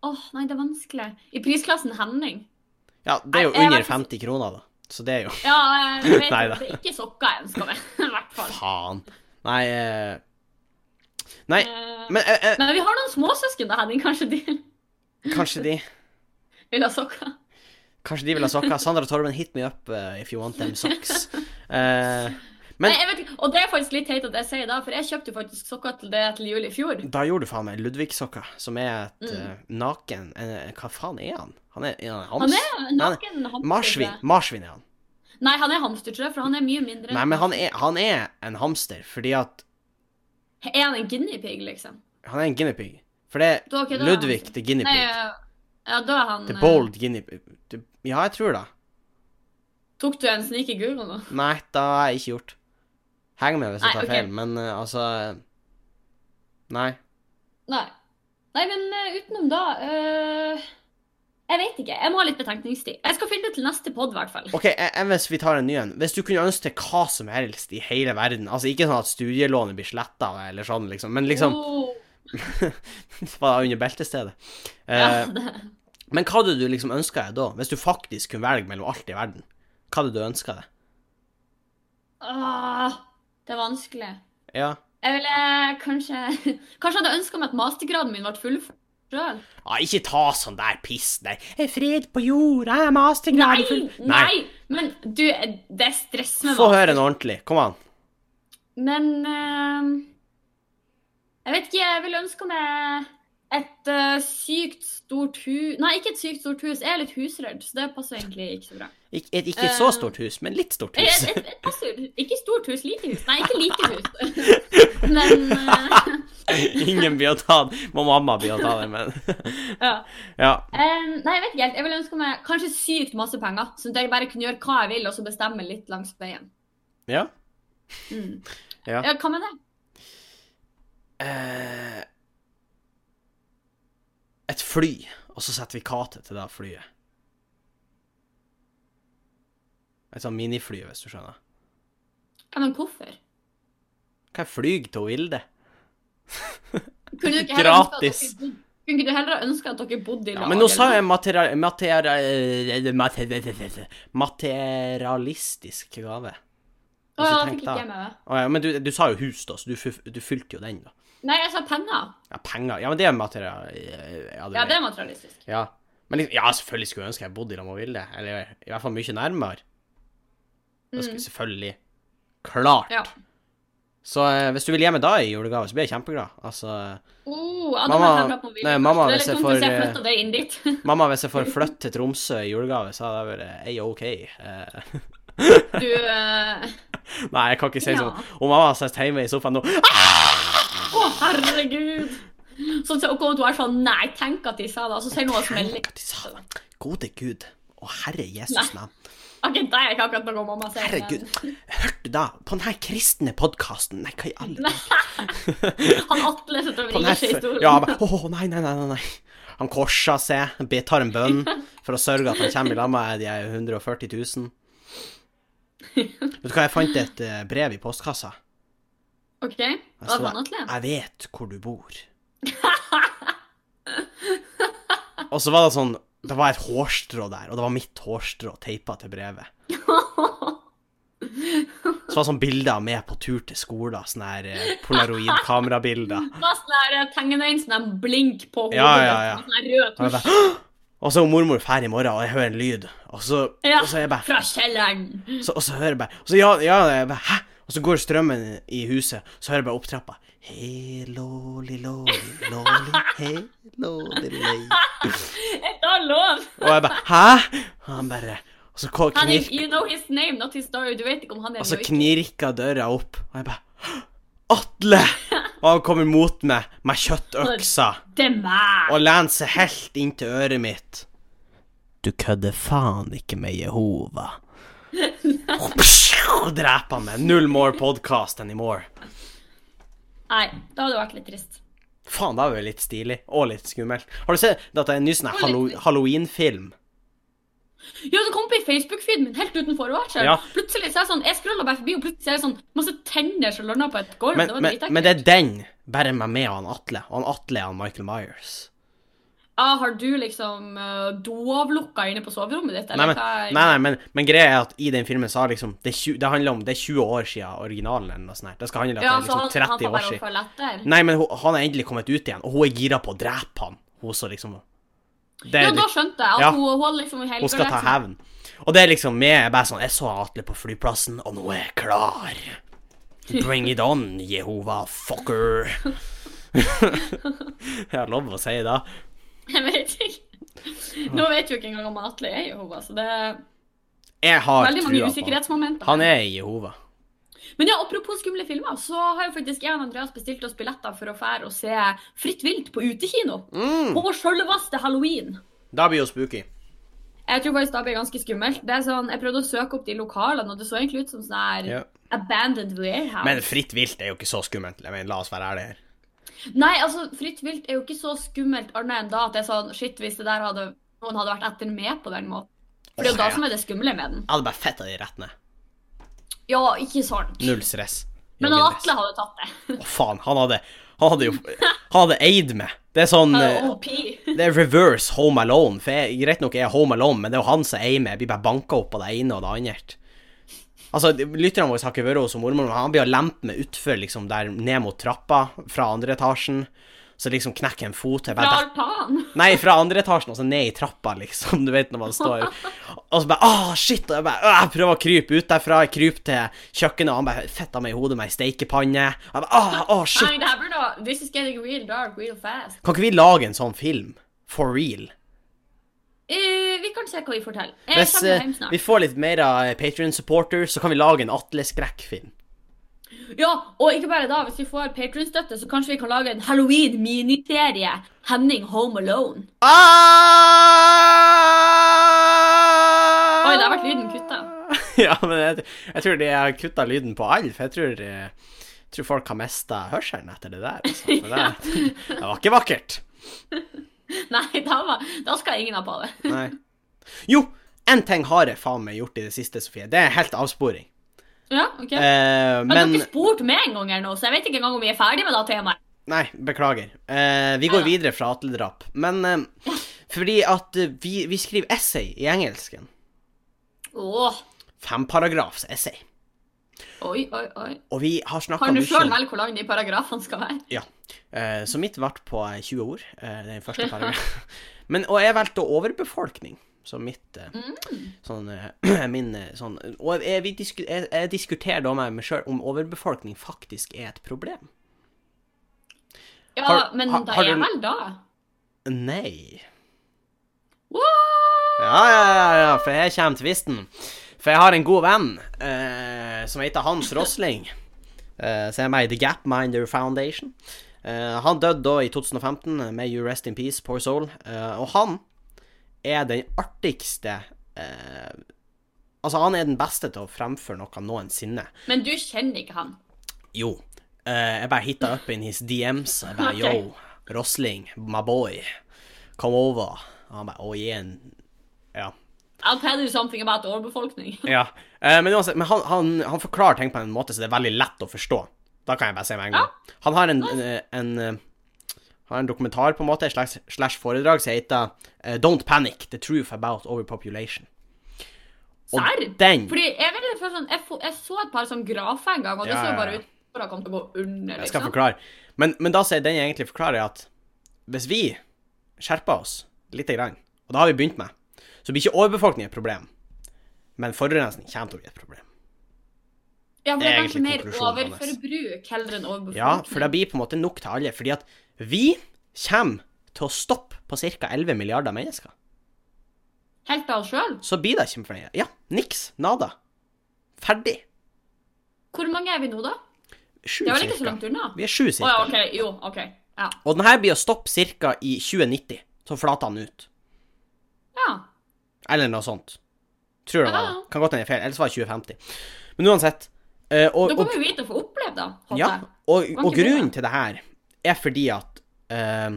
B: Åh, nei, det er vanskelig. I prisklassen Henning.
A: Ja, det er jo
B: jeg- jeg
A: under
B: vet ikke.
A: 50 kroner, da. Så det er jo
B: Ja, jeg vet
A: Neida.
B: at det er ikke sokker jeg ønsker meg, i hvert fall.
A: Faen. Nei eh, Nei,
B: Eh,
A: men eh, eh,
B: Men vi har noen småsøsken da, Henning. Kanskje de
A: kanskje de
B: vil ha sokker?
A: Kanskje de vil ha sokker. Sandra Torben, hit me up eh, if you want them socks. Eh, Men-
B: Nei, jeg vet ikke, og det er faktisk litt teit at jeg sier det, for jeg kjøpte jo faktisk sokker til det til jul i fjor.
A: da gjorde du faen meg Ludvig-sokker, som er et
B: Mm.
A: eh, naken eh, Hva faen er han? Han er, er han hams?
B: Han er en naken hamster.
A: Marsvin. Marsvin er han.
B: Nei, han er hamster, tror jeg, for han er mye mindre.
A: Nei, men han er, han er en hamster, fordi at
B: Er han en guinea pig, liksom?
A: Han er en guinea pig. For det
B: Da, ok,
A: er
B: da er
A: Ludvig
B: han-
A: the guinea
B: Nei,
A: pig.
B: ja, da er han
A: The
B: eh,
A: bold guinea pig. Ja, jeg tror det.
B: Tok du en sneaky Google nå?
A: Nei, det har jeg ikke gjort. Heng med hvis jeg
B: Nei,
A: tar
B: ok.
A: feil, men eh, altså Nei.
B: Nei. Nei, men eh, utenom da eh, Jeg vet ikke. Jeg må ha litt betenkningstid. Jeg skal finne det til neste pod, i hvert fall.
A: OK, eh, eh, hvis vi tar en ny en. Hvis du kunne ønske deg hva som helst i hele verden, altså ikke sånn at studielånet blir sletta eller sånn, liksom, men liksom
B: Oh,
A: Var det under beltestedet? Eh,
B: ja, det.
A: Men hva hadde du liksom ønska deg da, hvis du faktisk kunne velge mellom alt i verden? Hva hadde du ønska deg?
B: Ah, det er vanskelig.
A: Ja.
B: Jeg ville kanskje Kanskje hadde jeg ønska meg at mastergraden min ble fullført sjøl.
A: Ah, ikke ta sånn der piss, nei. Eh, Fred på jord, jeg er mastergrad
B: Nei,
A: full
B: nei! Men du, det stresser meg.
A: Få
B: da.
A: høre noe ordentlig. Kom an.
B: Men eh, Jeg vet ikke, jeg ville ønska meg et eh, sykt stort hus Nei, ikke et sykt stort hus. Jeg er litt husredd, så det passer egentlig ikke så bra.
A: Ik et, ikke et så
B: Eh.
A: stort hus, men litt stort
B: Et,
A: hus.
B: et, et passer. Ikke stort hus, lite hus. Nei, ikke lite hus. Men eh,
A: Ingen blir å ta den. Må mamma blir å ta den, men
B: ja.
A: Ja.
B: Em, nei, jeg vet ikke helt. Jeg ville ønske meg kanskje sykt masse penger, sånn at jeg bare kunne gjøre hva jeg vil, og så bestemme litt langs veien.
A: Ja.
B: Mm.
A: Ja.
B: hva med det?
A: Eh, et fly, og så sertifikatet til det flyet. Et sånn minifly, hvis du skjønner.
B: Ja, men hvorfor?
A: Kan jeg fly til Vilde?
B: Kunne du ikke heller ønske at dere
A: Gratis.
B: bodde- Kunne ikke du heller ønske at dere bodde i
A: Ja,
B: lag,
A: men nå sa
B: eller?
A: jeg material... material eh, mater- materialistisk gave.
B: Å,
A: Hvis du
B: ja, da
A: tenker
B: fikk ikke
A: da.
B: jeg med meg.
A: Å ja, men du, du sa jo hus, da, så du, fyf- du fylte jo den, da.
B: Nei, jeg sa penger.
A: Ja, penger Ja, men det er material... eh, Ja, det,
B: Ja, det er materialistisk.
A: ja. Men liksom, ja, selvfølgelig skulle jeg ønske jeg bodde i lag med Vilde. Eller i hvert fall mye nærmere. Da skulle
B: Mm.
A: selvfølgelig Klart.
B: Ja.
A: Så eh, hvis du vil gi meg da i julegave, så blir jeg kjempeglad. Altså
B: Oh, ja,
A: Mamma-
B: mamma,
A: nei, mamma,
B: det er
A: hvis
B: litt
A: jeg
B: dumt hvis
A: får,
B: jeg
A: eh,
B: flytter deg inn dit.
A: Mamma, hvis jeg får flytte til Tromsø i julegave, så hadde jeg vært A-OK. Eh,
B: Du eh,
A: nei, jeg kan ikke si
B: Ja.
A: sånn. Og mamma sitter hjemme i sofaen nå.
B: Å, herregud. Sånn så kommer du her sånn Nei, tenk at de sa det, og så sier noe som er litt
A: Tenk at de Ah, sa det. Gode Gud. Å, herre Jesus navn.
B: Ok, det er ikke akkurat noe mamma sier. men-
A: Herregud. Hørte du da på denne kristne podkasten? Nei, hva i alle
B: Han Atle sitter og
A: på
B: vrir
A: denne
B: seg i stolen.
A: Ja, men Å, nei, nei, nei, nei, nei. Han korsa seg, be- tar en bønn for å sørge at han kommer i lag med de 140 000. Vet du hva, jeg fant et eh, brev i postkassa.
B: OK. Hva
A: Jeg,
B: er
A: sto der,
B: sånn, Atle?
A: jeg vet hvor du bor. Og så var det sånn Det var et hårstrå der, og det var mitt hårstrå teipa til brevet. Så var det sånn bilder med på tur til skolen, sånn her eh, polaroid-kamerabilder.
B: Det var sånn der eh, tegnetegn, sånn der blink på hodet.
A: Ja, ja, ja.
B: Sånn der
A: Og
B: rød
A: jeg
B: tusj.
A: bare, «Hå!» Og så er mormor ferdig i morgen, og jeg hører en lyd. Og så,
B: Ja,
A: og så er jeg bare
B: fra kjelleren.
A: så, Og så hører jeg bare og så, ja, ja, jeg bare, Hæ? Og så går strømmen i huset, så hører jeg bare opp trappa. Hei, loli, loli, loli, hei, loli, lei.
B: Er det lov?
A: Og jeg bare Hæ? Og han bare Og så ko-
B: Han er,
A: knirk, Altså,
B: you know his name, not his story. Du vet ikke om han er
A: og så
B: eller ikke.
A: knirka døra opp, og jeg bare Atle! Og han kommer mot meg med kjøttøksa.
B: Det er meg.
A: og lener seg helt inn til øret mitt. Du kødder faen ikke med Jehova. Og dreper han meg. Null more podcast anymore.
B: Nei, da hadde det vært litt trist.
A: Faen, det var jo litt stilig, og litt skummelt. Har du sett at det er en ny sånn her
B: Og litt
A: hallo
B: trist.
A: halloween-film?
B: Jo, det kom på i Facebook-feeden min helt uten forvarsel.
A: Ja.
B: Plutselig så er jeg sånn, jeg scroller bare forbi, og plutselig er det sånn masse tenner som lander på et gulv.
A: Men,
B: det var
A: men,
B: dritekkelt.
A: men det er den, bare med meg og han Atle. Og han Atle er han Michael Myers.
B: Ja, har du liksom uh, doavlukka inne på soverommet ditt,
A: Nei,
B: eller
A: men, nei, nei, men, men greia er at i den filmen så har liksom Det, er tju- det handler om det er 20 år siden originalen eller noe sånt. her. Det skal handle om at
B: Ja,
A: det er
B: så han,
A: liksom
B: han
A: 30
B: får
A: år
B: bare
A: siden.
B: for letter.
A: Nei, men hun, han er endelig kommet ut igjen, og hun er gira på å drepe han. Hun som liksom det er
B: Ja, da
A: litt,
B: skjønte jeg at
A: Ja.
B: hun, hun holder liksom i
A: Hun skal ta hevn. Og det er liksom meg jeg er bare sånn Jeg så Atle på flyplassen, og nå er jeg klar. Bring it on, Jehova fucker. jeg har lov å si det.
B: Jeg vet ikke. Nå vet jo ikke engang om Atle er Jehova, så det er
A: Jeg har
B: veldig
A: trua
B: mange
A: på han.
B: usikkerhetsmomenter.
A: Han er Jehova.
B: Men ja, apropos skumle filmer, så har jo faktisk jeg og Andreas bestilt oss billetter for å fære og se Fritt vilt på utekino.
A: Mm,
B: På selveste halloween.
A: da blir hun spooky.
B: Jeg tror faktisk da blir det ganske skummelt. Det er sånn, Jeg prøvde å søke opp de lokalene, og det så egentlig ut som sånn her
A: Ja.
B: abandoned warehouse.
A: Men fritt vilt er jo ikke så skummelt. Jeg mener, la oss være ærlige her.
B: Nei, altså, fritt vilt er jo ikke så skummelt annet enn da at det er sånn Shit, hvis det der hadde, noen hadde vært etter meg på den måten. For det er jo da
A: Ja.
B: som er det skumle med den.
A: Jeg hadde bare fetta de rett ned.
B: Ja, ikke sant.
A: Null stress.
B: Men han
A: Joggedress.
B: Atle hadde tatt det.
A: Å, faen. Han hadde, han hadde jo Han hadde eid meg. Det er sånn
B: Han
A: eh,
B: er OP.
A: Det er reverse Home Alone. For jeg, Greit nok er jeg Home Alone, men det er jo han som eier meg. Jeg blir bare banka opp av det ene og det andre. Altså, de- Lytterne våre har ikke vært hos mormor, men han blir å lempe meg utfor liksom, der ned mot trappa fra andre etasjen. Så liksom knekker jeg en fot. Jeg
B: Fra
A: bare,
B: altan.
A: nei, fra andre etasjen og så ned i trappa, liksom. Du vet når man står Og så bare ah, shit! Og jeg bare «Åh», jeg prøver å krype ut derfra. Jeg kryper til kjøkkenet, og han bare fetter meg i hodet med ei steikepanne. Og Jeg bare ah, ah, shit!
B: Nei, det her burde da- This is getting real dark real fast.
A: Kan ikke vi lage en sånn film? For real?
B: Eh, vi kan se hva vi forteller. Jeg
A: Hvis
B: kommer
A: eh,
B: hjem snart.
A: vi får litt mer av Patrion-supporter, så kan vi lage en Atle-skrekkfilm.
B: Ja, og ikke bare da. Hvis vi får Patreon-støtte, så kanskje vi kan lage en halloween-miniserie. Henning Home Alone.
A: Oi,
B: Oi, der ble lyden kuttet.
A: ja, men jeg, jeg tror de har kutta lyden på all, for jeg tror, eh, tror folk har mista hørselen etter det der. Altså. For det, det var ikke vakkert.
B: Nei, da, var, da skal ingen ha på det.
A: Nei. Jo, én ting har jeg faen meg gjort i det siste, Sofie. Det er helt avsporing.
B: Ja, ok.
A: Eh,
B: men,
A: men
B: dere spurte meg en gang her nå, så jeg vet ikke engang om vi er ferdig med det temaet.
A: Nei, beklager. Eh, vi går
B: Neida.
A: videre fra atledrap. Men eh, fordi at eh, vi, vi skriver essay i engelsken.
B: Åh,
A: Femparagrafs essay.
B: oi, oi, oi.
A: Og vi har snakka
B: Kan du
A: mye
B: selv
A: om
B: velge hvor lang de paragrafene skal være?
A: Ja. Eh, så mitt ble på eh, 20 ord. eh, den første paragrafen. Men, og jeg valgte overbefolkning som mitt eh,
B: Mm.
A: sånn, eh, min, eh, sånn Og jeg, vi disku, jeg, jeg diskuterer da med meg sjøl om overbefolkning faktisk er et problem.
B: Ja,
A: Har-
B: men
A: har-
B: da
A: har
B: er
A: du-
B: vel da.
A: Nei.
B: What?
A: Ja, ja, ja, ja, for jeg kommer til visten. For jeg har en god venn eh, som heter Hans Rosling, eh, som er med i The Gapminder Foundation. Eh, han døde da i 2015, med You Rest In Peace, Poor Soul. Eh, og han er den artigste eh, Altså, han er den beste til å fremføre noe noensinne.
B: Men du kjenner ikke han.
A: Jo. eh, jeg bare hitta up in his DMs. Jeg bare
B: Ok.
A: yo, Rosling, my boy, come over. Og han bare oh yeah. Ja.
B: I'll tell you something about overbefolkning.
A: Ja, eh, men, uansett, men han, han, han forklarer ting på en måte så det er veldig lett å forstå. Da kan jeg bare si med en gang. Han har en, en, en, eh, har en dokumentar, på en måte, slash, slash foredrag, som heter eh, Don't Panic, The Truth About Overpopulation. Og
B: Serr?
A: den
B: Fordi jeg, vet, ikke, for sånn, jeg, fo- jeg så et par sånn grafer en gang, og det
A: Ja,
B: så
A: ja, ja.
B: bare ut for å komme til å gå under,
A: Jeg skal
B: liksom.
A: forklare. Men, men da sier den jeg egentlig forklarer, at hvis vi skjerper oss lite grann, og det har vi begynt med, så blir ikke overbefolkning et problem, men forurensning kommer til å bli et problem.
B: Ja,
A: Det
B: for det
A: er
B: er kanskje
A: egentlig
B: mer
A: konklusjonen hans.
B: overforbruk heller enn overbefolkning.
A: Ja, for det blir på en måte nok til alle. Fordi at vi kommer til å stoppe på ca. 11 milliarder mennesker.
B: Helt av oss sjøl.
A: Så blir det ikke flere. Ja, niks. Nada. Ferdig.
B: Hvor mange er vi nå, da?
A: Sju,
B: Det er vel ikke så
A: cirka.
B: langt unna?
A: Vi er sju,
B: Å ja,
A: cirka.
B: OK. Jo, OK. Ja.
A: Og den her blir å stoppe ca. i 2090. Så flater den ut.
B: ja.
A: Eller noe sånt. Tror jeg det var.
B: Ja.
A: Kan godt hende jeg er feil. Ellers var det 2050. Men uansett. eh, Og,
B: Da
A: og,
B: kommer vi til å få oppleve det. håper
A: ja,
B: jeg.
A: og,
B: Var
A: og
B: ikke det?
A: grunnen til det her er fordi at eh,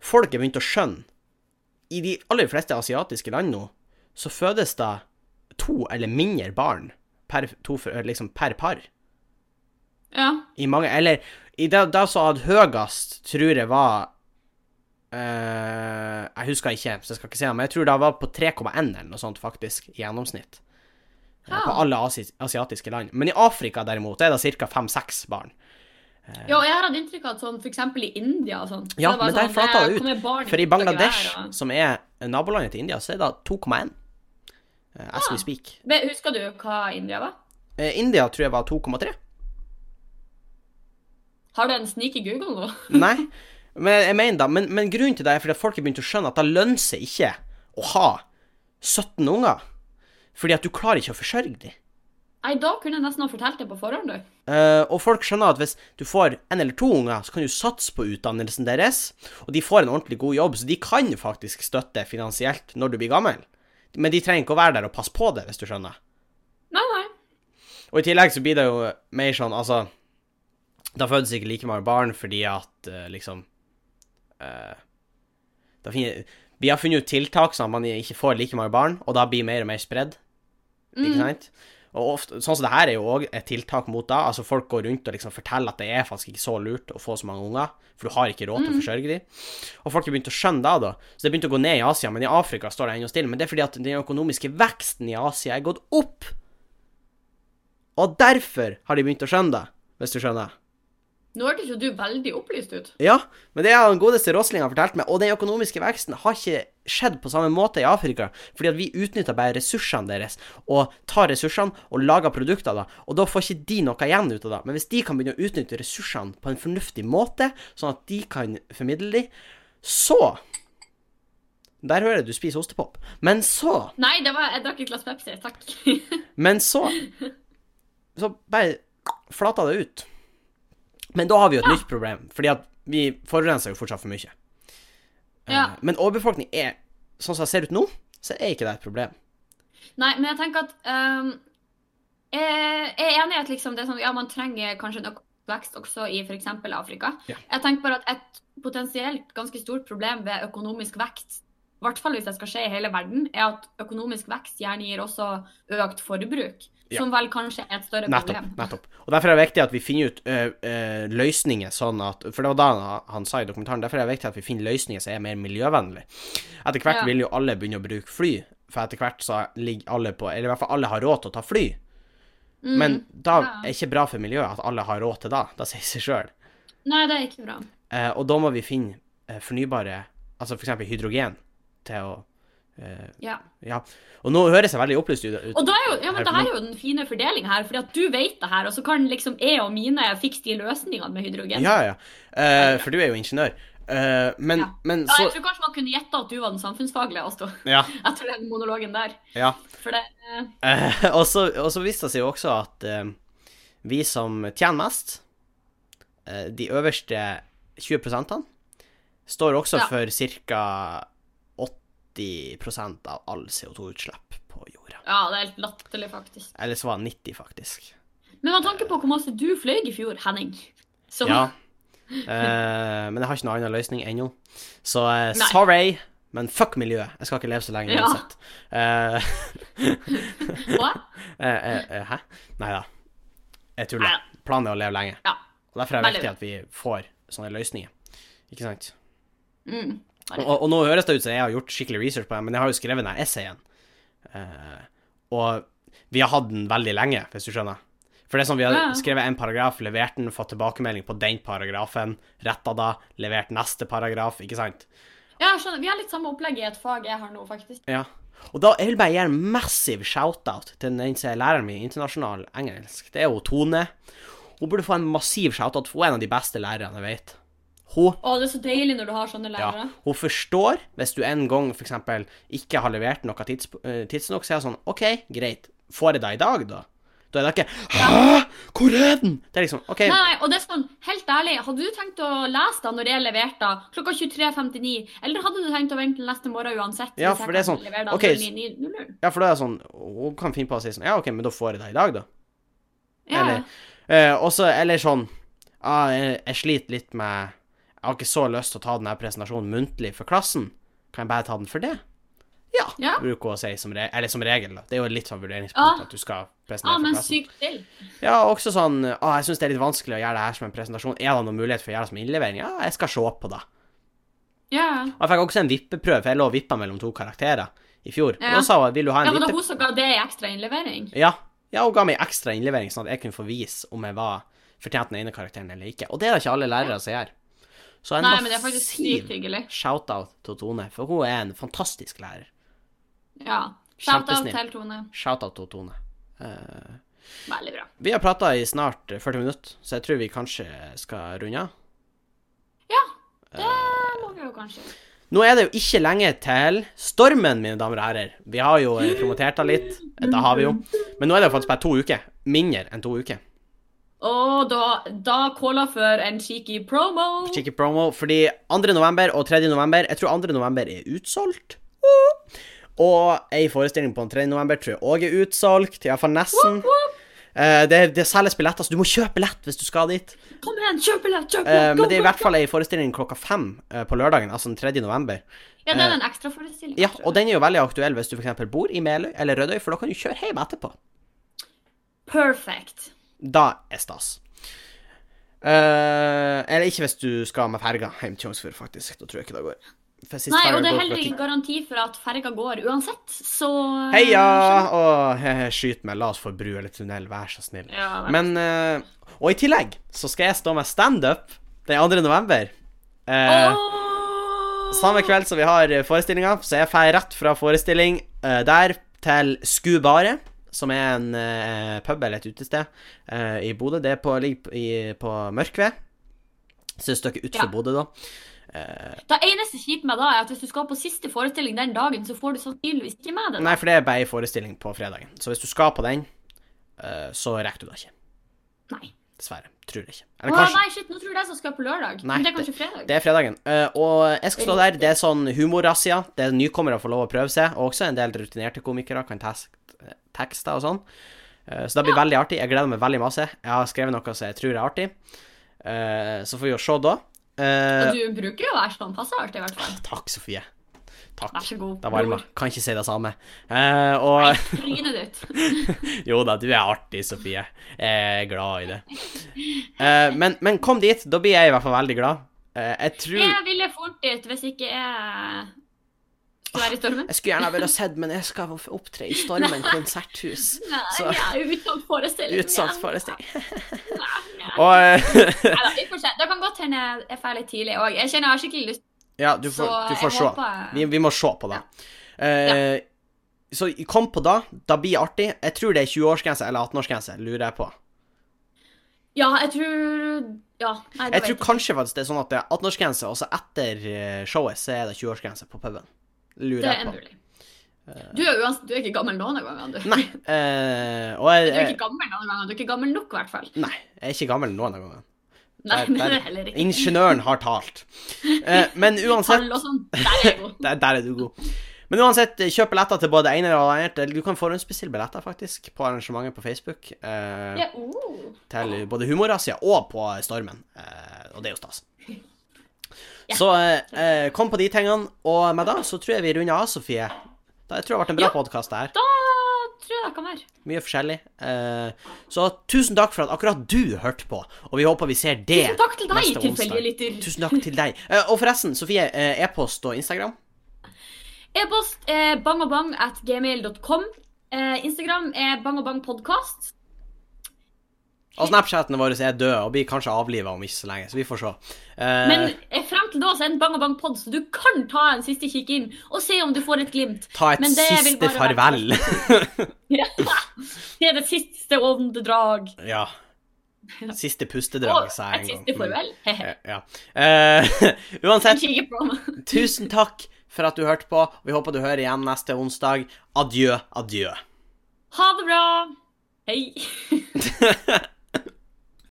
A: folk er begynt å skjønne I de aller fleste asiatiske land nå så fødes det to eller mindre barn per, to, for- liksom per par.
B: Ja.
A: I mange Eller i det, det som hadde høyest, tror jeg var eh, Jeg husker ikke, så jeg skal ikke si det, men jeg tror det var på 3,1 eller noe sånt, faktisk, i gjennomsnitt. Eh, På
B: Ja.
A: alle asi asiatiske land. Men i Afrika, derimot, er det ca. fem-seks barn.
B: ja, og jeg har hatt inntrykk av at sånn for eksempel i India og sånn så
A: Ja,
B: det er bare
A: men der
B: sånn,
A: flata
B: eh,
A: det ut.
B: kommer barn
A: For i
B: ut av
A: Bangladesh,
B: gevær og-
A: som er nabolaget til India, så er det 2,1. eh, As we speak.
B: Men Husker du hva India var?
A: Eh, India tror jeg var 2,3.
B: Har du en sneaky Google nå?
A: Nei, men jeg mener da, men, men grunnen til det er fordi at folk har begynt å skjønne at det lønner seg ikke å ha 17 unger. Fordi at du klarer ikke å forsørge dem.
B: Nei, da kunne jeg nesten ha fortalt det på forhånd, du.
A: Eh, og folk skjønner at hvis du får en eller to unger, så kan du satse på utdannelsen deres, og de får en ordentlig god jobb, så de kan faktisk støtte finansielt når du blir gammel. Men de trenger ikke å være der og passe på det, hvis du skjønner.
B: Nei, nei.
A: Og i tillegg så blir det jo mer sånn, altså Da fødes ikke like mange barn fordi at eh, liksom eh, da finner, Vi har funnet ut tiltak sånn at man ikke får like mange barn, og da blir mer og mer spredd. Ikke
B: Mm.
A: sant? Og ofte, sånn som det her er jo òg et tiltak mot da. Altså Folk går rundt og liksom forteller at det er faktisk ikke så lurt å få så mange unger, for du har ikke råd til å forsørge dem. Og folk har begynt å skjønne da, da. Så det begynte å gå ned i Asia, men i Afrika står det ennå stille. Men det er fordi at den økonomiske veksten i Asia er gått opp. Og derfor har de begynt å skjønne det, hvis du skjønner.
B: Nå hørtes jo du veldig opplyst ut.
A: Ja, men det har den godeste Rosling har fortalt meg, og den økonomiske veksten har ikke skjedd på samme måte i Afrika, fordi at vi utnytter bare ressursene deres, og tar ressursene og lager produkter da, og da får ikke de noe igjen ut av det. Men hvis de kan begynne å utnytte ressursene på en fornuftig måte, sånn at de kan formidle de, så Der hører jeg du spiser ostepop. Men så
B: Nei, det var, jeg drakk et glass Pepsi. Takk.
A: men så Så bare flata det ut. Men da har vi jo et nytt problem, fordi at vi forurenser jo fortsatt for mye. Eh,
B: Ja.
A: Men overbefolkning er Sånn som det ser ut nå, så er ikke det et problem.
B: Nei, men jeg tenker at ehm, Jeg jeg er enig i at liksom det er sånn, ja, man trenger kanskje en økonomisk vekst også i f.eks. Afrika.
A: Ja.
B: Jeg tenker bare at et potensielt ganske stort problem ved økonomisk vekst, i hvert fall hvis det skal skje i hele verden, er at økonomisk vekst gjerne gir også økt forbruk.
A: Ja.
B: Som vel kanskje er et større
A: Nettopp.
B: problem.
A: nettopp. Og derfor er det viktig at vi finner ut eh, eh, løsninger sånn at For det var da han, han sa i dokumentaren, derfor er det viktig at vi finner løsninger som er mer miljøvennlige. Etter hvert
B: Ja.
A: vil jo alle begynne å bruke fly, for etter hvert så ligger alle på Eller i hvert fall alle har råd til å ta fly.
B: Mm.
A: Men da
B: Ja.
A: er ikke bra for miljøet at alle har råd til det. Det sier seg sjøl.
B: Nei, det er ikke bra.
A: Eh, og da må vi finne eh, fornybare, altså f.eks. hydrogen, til å eh,
B: Ja.
A: Ja. Og nå høres jeg veldig opplyst ut.
B: Og da er jo, ja, men det her er jo den fine fordelinga her, fordi at du vet det her, og så kan liksom jeg og mine fikse de løsningene med hydrogen.
A: Ja, ja. Eh, for du er jo ingeniør. Eh, men,
B: Ja.
A: men
B: Ja,
A: så
B: jeg tror kanskje man kunne gjette at du var den samfunnsfaglige, Asto,
A: Ja.
B: etter den monologen der.
A: ja.
B: For det eh,
A: Eh, og, så, og så viste det seg jo også at eh, vi som tjener mest, eh, de øverste 20 står også
B: Ja.
A: for ca. 80 av all CO2-utslipp på jorda.
B: Ja, det er helt latterlig, faktisk.
A: Eller så var det 90, faktisk.
B: Men med tanke på hvor masse du fløy i fjor, Henning så,
A: Ja. Eh, men jeg har ikke noen annen løsning ennå. Så eh,
B: Nei.
A: sorry, men fuck miljøet. Jeg skal ikke leve så lenge
B: Ja.
A: uansett. Eh,
B: Hva?
A: eh, eh, eh, hæ? Nei da. Jeg tuller.
B: Neida.
A: Planen er å leve lenge.
B: Ja.
A: Og Derfor er det
B: Veldig
A: viktig at vi får sånne løsninger. Ikke sant?
B: Mm.
A: Og, og nå høres det ut som jeg har gjort skikkelig research på det, men jeg har jo skrevet denne essayen. Eh, og vi har hatt den veldig lenge, hvis du skjønner. For det er sånn, vi har
B: Ja, ja.
A: skrevet en paragraf, levert den, fått tilbakemelding på den paragrafen, retta da, levert neste paragraf, ikke sant?
B: Ja, jeg skjønner. Vi har litt samme opplegg i et fag jeg har nå, faktisk.
A: Ja. Og da jeg vil bare gi en massiv shout-out til den som er læreren min i internasjonal engelsk. Det er jo Tone. Hun burde få en massiv shout-out, for hun er en av de beste lærerne jeg vet. Hun
B: Å, det er så deilig når du har sånne
A: Ja,
B: lærere.
A: hun forstår hvis du en gang for eksempel ikke har levert noe tids, eh, tidsnok, så er hun sånn OK, greit, får jeg det i dag, da? Da er det ikke Hæ, hvor er den? Det er liksom OK,
B: Nei, nei, og det er sånn, helt ærlig, hadde du tenkt å lese da når jeg leverte da, klokka 23.59, eller hadde du tenkt å vente til neste morgen uansett?
A: Ja,
B: hvis jeg
A: for det er
B: kan
A: sånn,
B: levere da
A: ok,
B: 09.00?
A: ja, for da er det sånn Hun kan finne på å si sånn Ja, OK, men da får jeg det i dag, da.
B: Ja,
A: Eller, eh, også, eller sånn ah, jeg, jeg sliter litt med Jeg har ikke så lyst til å ta denne presentasjonen muntlig for klassen. Kan jeg bare ta den for det? Ja,
B: Ja. bruker
A: bruker hun å si som, re eller som regel. da. Det er jo litt sånn vurderingspunkt
B: Ja.
A: at du skal presentere
B: ah,
A: for
B: men
A: klassen.
B: sykt til.
A: Ja, og også sånn Å, jeg syns det er litt vanskelig å gjøre det her som en presentasjon. Er det noen mulighet for å gjøre det som innlevering? Ja, jeg skal se på det.
B: Ja,
A: Og jeg fikk også en vippeprøve, for jeg lå og vippa mellom to karakterer i fjor. Og
B: Ja.
A: da sa hun Vil du ha
B: ja
A: en
B: men da
A: vippe...
B: hun som ga det i ekstra innlevering.
A: Ja. ja, hun ga meg ekstra innlevering, sånn at jeg kunne få vise om jeg var fortjent den ene karakteren eller ikke. Og det er det ikke alle lærere som gjør. Så en
B: Nei, men det er faktisk sykt
A: massiv
B: hyggelig.
A: shout-out til Tone, for hun er en fantastisk lærer.
B: Ja. Shout out
A: Kjempesnill.
B: til Tone.
A: Shout-out til Tone. Eh,
B: Veldig bra.
A: vi har prata i snart 40 minutter, så jeg tror vi kanskje skal runde av.
B: Ja, det
A: Eh.
B: må vi jo kanskje.
A: Nå er det jo ikke lenge til stormen, mine damer og herrer. Vi har jo eh, promotert det litt. Det har vi jo. Men nå er det jo faktisk bare to uker. Mindre enn to uker.
B: Og da, da caller for en cheeky promo.
A: Cheeky promo. Fordi 2. november og 3. november Jeg tror 2. november er utsolgt. Og ei forestilling på den 3. november tror jeg òg er utsolgt, iallfall nesten. Eh, det, det selges billetter, så du må kjøpe billett hvis du skal dit.
B: Kom igjen, kjøp billett! Kjøp
A: Eh,
B: billett!
A: men det er i hvert fall ei forestilling klokka fem eh, på lørdagen, altså den 3. november.
B: Ja, det er en ekstraforestilling.
A: eh, Ja,
B: tror jeg.
A: og den er jo veldig aktuell hvis du f.eks. bor i Meløy eller Rødøy, for da kan du kjøre hjem etterpå.
B: Perfect.
A: Da er stas. Eh, eller ikke hvis du skal med ferga hjem til Tjongsfjord, faktisk. Da tror jeg ikke det går. For sist
B: Nei,
A: ferga
B: og det
A: går
B: er heller
A: klokka ti.
B: ikke garanti for at ferga går uansett, så
A: Heia! Og he-he, skyt meg, la oss få bru eller tunnel, vær så snill.
B: Ja, men...
A: Men eh, Og i tillegg så skal jeg stå med standup den 2. november. Eh, Samme kveld som vi har forestillinga, så jeg drar rett fra forestilling eh, der til Skubaret, som er en eh, pub eller et utested eh, i Bodø. Det er på, ligger på, i- på Mørkved. Så et stykke utenfor
B: Ja.
A: Bodø, da.
B: Det eneste kjipe med da er at hvis du skal på siste forestilling den dagen, så får du sannsynligvis ikke med det.
A: Nei, for det er bare ei forestilling på fredagen. Så hvis du skal på den, eh, så rekker du det ikke.
B: Nei.
A: Dessverre. Tror jeg ikke.
B: Å,
A: Eller kanskje.
B: nei, shit, nå tror jeg det er som skal på lørdag.
A: Nei,
B: men det er kanskje fredag.
A: Det er fredagen. Eh, og jeg skal stå der. Det er sånn humorrazzia. Det er nykommere får lov å prøve seg. Og også en del rutinerte komikere kan tes- tekster og sånn. Eh, så det blir veldig artig. Jeg gleder meg veldig masse. Jeg har skrevet noe som jeg tror er artig. Eh, så får vi jo se da. Eh,
B: Og du bruker jo å være sånn passe artig, i hvert fall.
A: takk, Sofie.
B: Vær
A: Takk.
B: så god.
A: Da varmer
B: bror.
A: Kan ikke si det samme. Eh, og
B: Trynet ditt.
A: Jo da, du er artig, Sofie. Jeg er glad i det. Eh, men, men kom dit. Da blir jeg i hvert fall veldig glad. Eh, jeg tror
B: Jeg ville fort dit hvis ikke jeg skulle være i stormen.
A: Jeg skulle gjerne ha vært og sett, men jeg skal opptre i Stormen konserthus.
B: Nei,
A: Så-
B: jeg er utsatt forestilling.
A: Utsatt forestilling.
B: Nei,
A: Og eh,
B: Neida, vi får se. Det kan godt hende jeg er ferdig tidlig òg. Jeg kjenner jeg har skikkelig lyst,
A: Ja, du
B: så
A: får, du får
B: jeg
A: se.
B: håper
A: Vi, vi må se på det. Eh, så kom på da. Da blir det artig. Jeg tror det er 20-årsgrense eller 18-årsgrense, lurer jeg på.
B: Ja, jeg tror Ja. Nei, det
A: Jeg tror kanskje faktisk det er sånn at det er 18-årsgrense, og så etter eh, showet så er det 20-årsgrense på puben.
B: Det
A: Lurer
B: er
A: jeg på.
B: mulig. Du er, uansett, du er ikke gammel noen av gangene, du.
A: Nei. eh, og jeg,
B: Du er
A: jeg,
B: ikke gammel noen av gangene. Du er ikke gammel nok, i hvert fall.
A: nei, jeg er ikke gammel noen av gangene.
B: Nei,
A: Der-
B: det er
A: der-
B: heller ikke.
A: Ingeniøren har talt. Eh, men uansett
B: Tall og sånn. Der er jeg god.
A: Der, der er du god. Men uansett, kjøp billetter til både ene og andre. Du kan forhåndsbestille billetter faktisk på arrangementet på Facebook. Eh,
B: Ja, oh.
A: Til både Humorrazzia og på Stormen. Eh, og det er jo stas.
B: Ja.
A: Så eh, eh, kom på de tingene. Og med det så tror jeg vi runder av, Sofie. Da, jeg tror det har vært en bra
B: Ja.
A: podkast det her.
B: Da tror jeg det kan være.
A: Mye forskjellig. Eh, så tusen takk for at akkurat du hørte på, og vi håper vi ser det
B: Tusen takk til deg,
A: neste
B: tilfeldige
A: onsdag.
B: lytter.
A: Tusen takk til deg. Eh, og forresten, Sofie, eh, e-post og Instagram?
B: E-post er bangobang at gmail.com. Eh, Instagram er bangobangpodkast.
A: Og Snapchatene våre er døde og blir kanskje avliva om ikke så lenge, så vi får se. Eh,
B: Men eh, frem til da så er den bangobangpod, så du kan ta en siste kikk inn og se om du får et glimt.
A: ta et
B: men det vil
A: siste
B: bare være-
A: farvel.
B: Ja. Det er det siste åndedrag.
A: ja. Siste pustedrag,
B: Og
A: sa jeg
B: et
A: en gang.
B: siste farvel.
A: Men, eh, ja. Eh, uansett,
B: Kikker på meg.
A: tusen takk for at du hørte på. Vi håper du hører igjen neste onsdag. Adjø, adjø.
B: Ha det bra. Hei.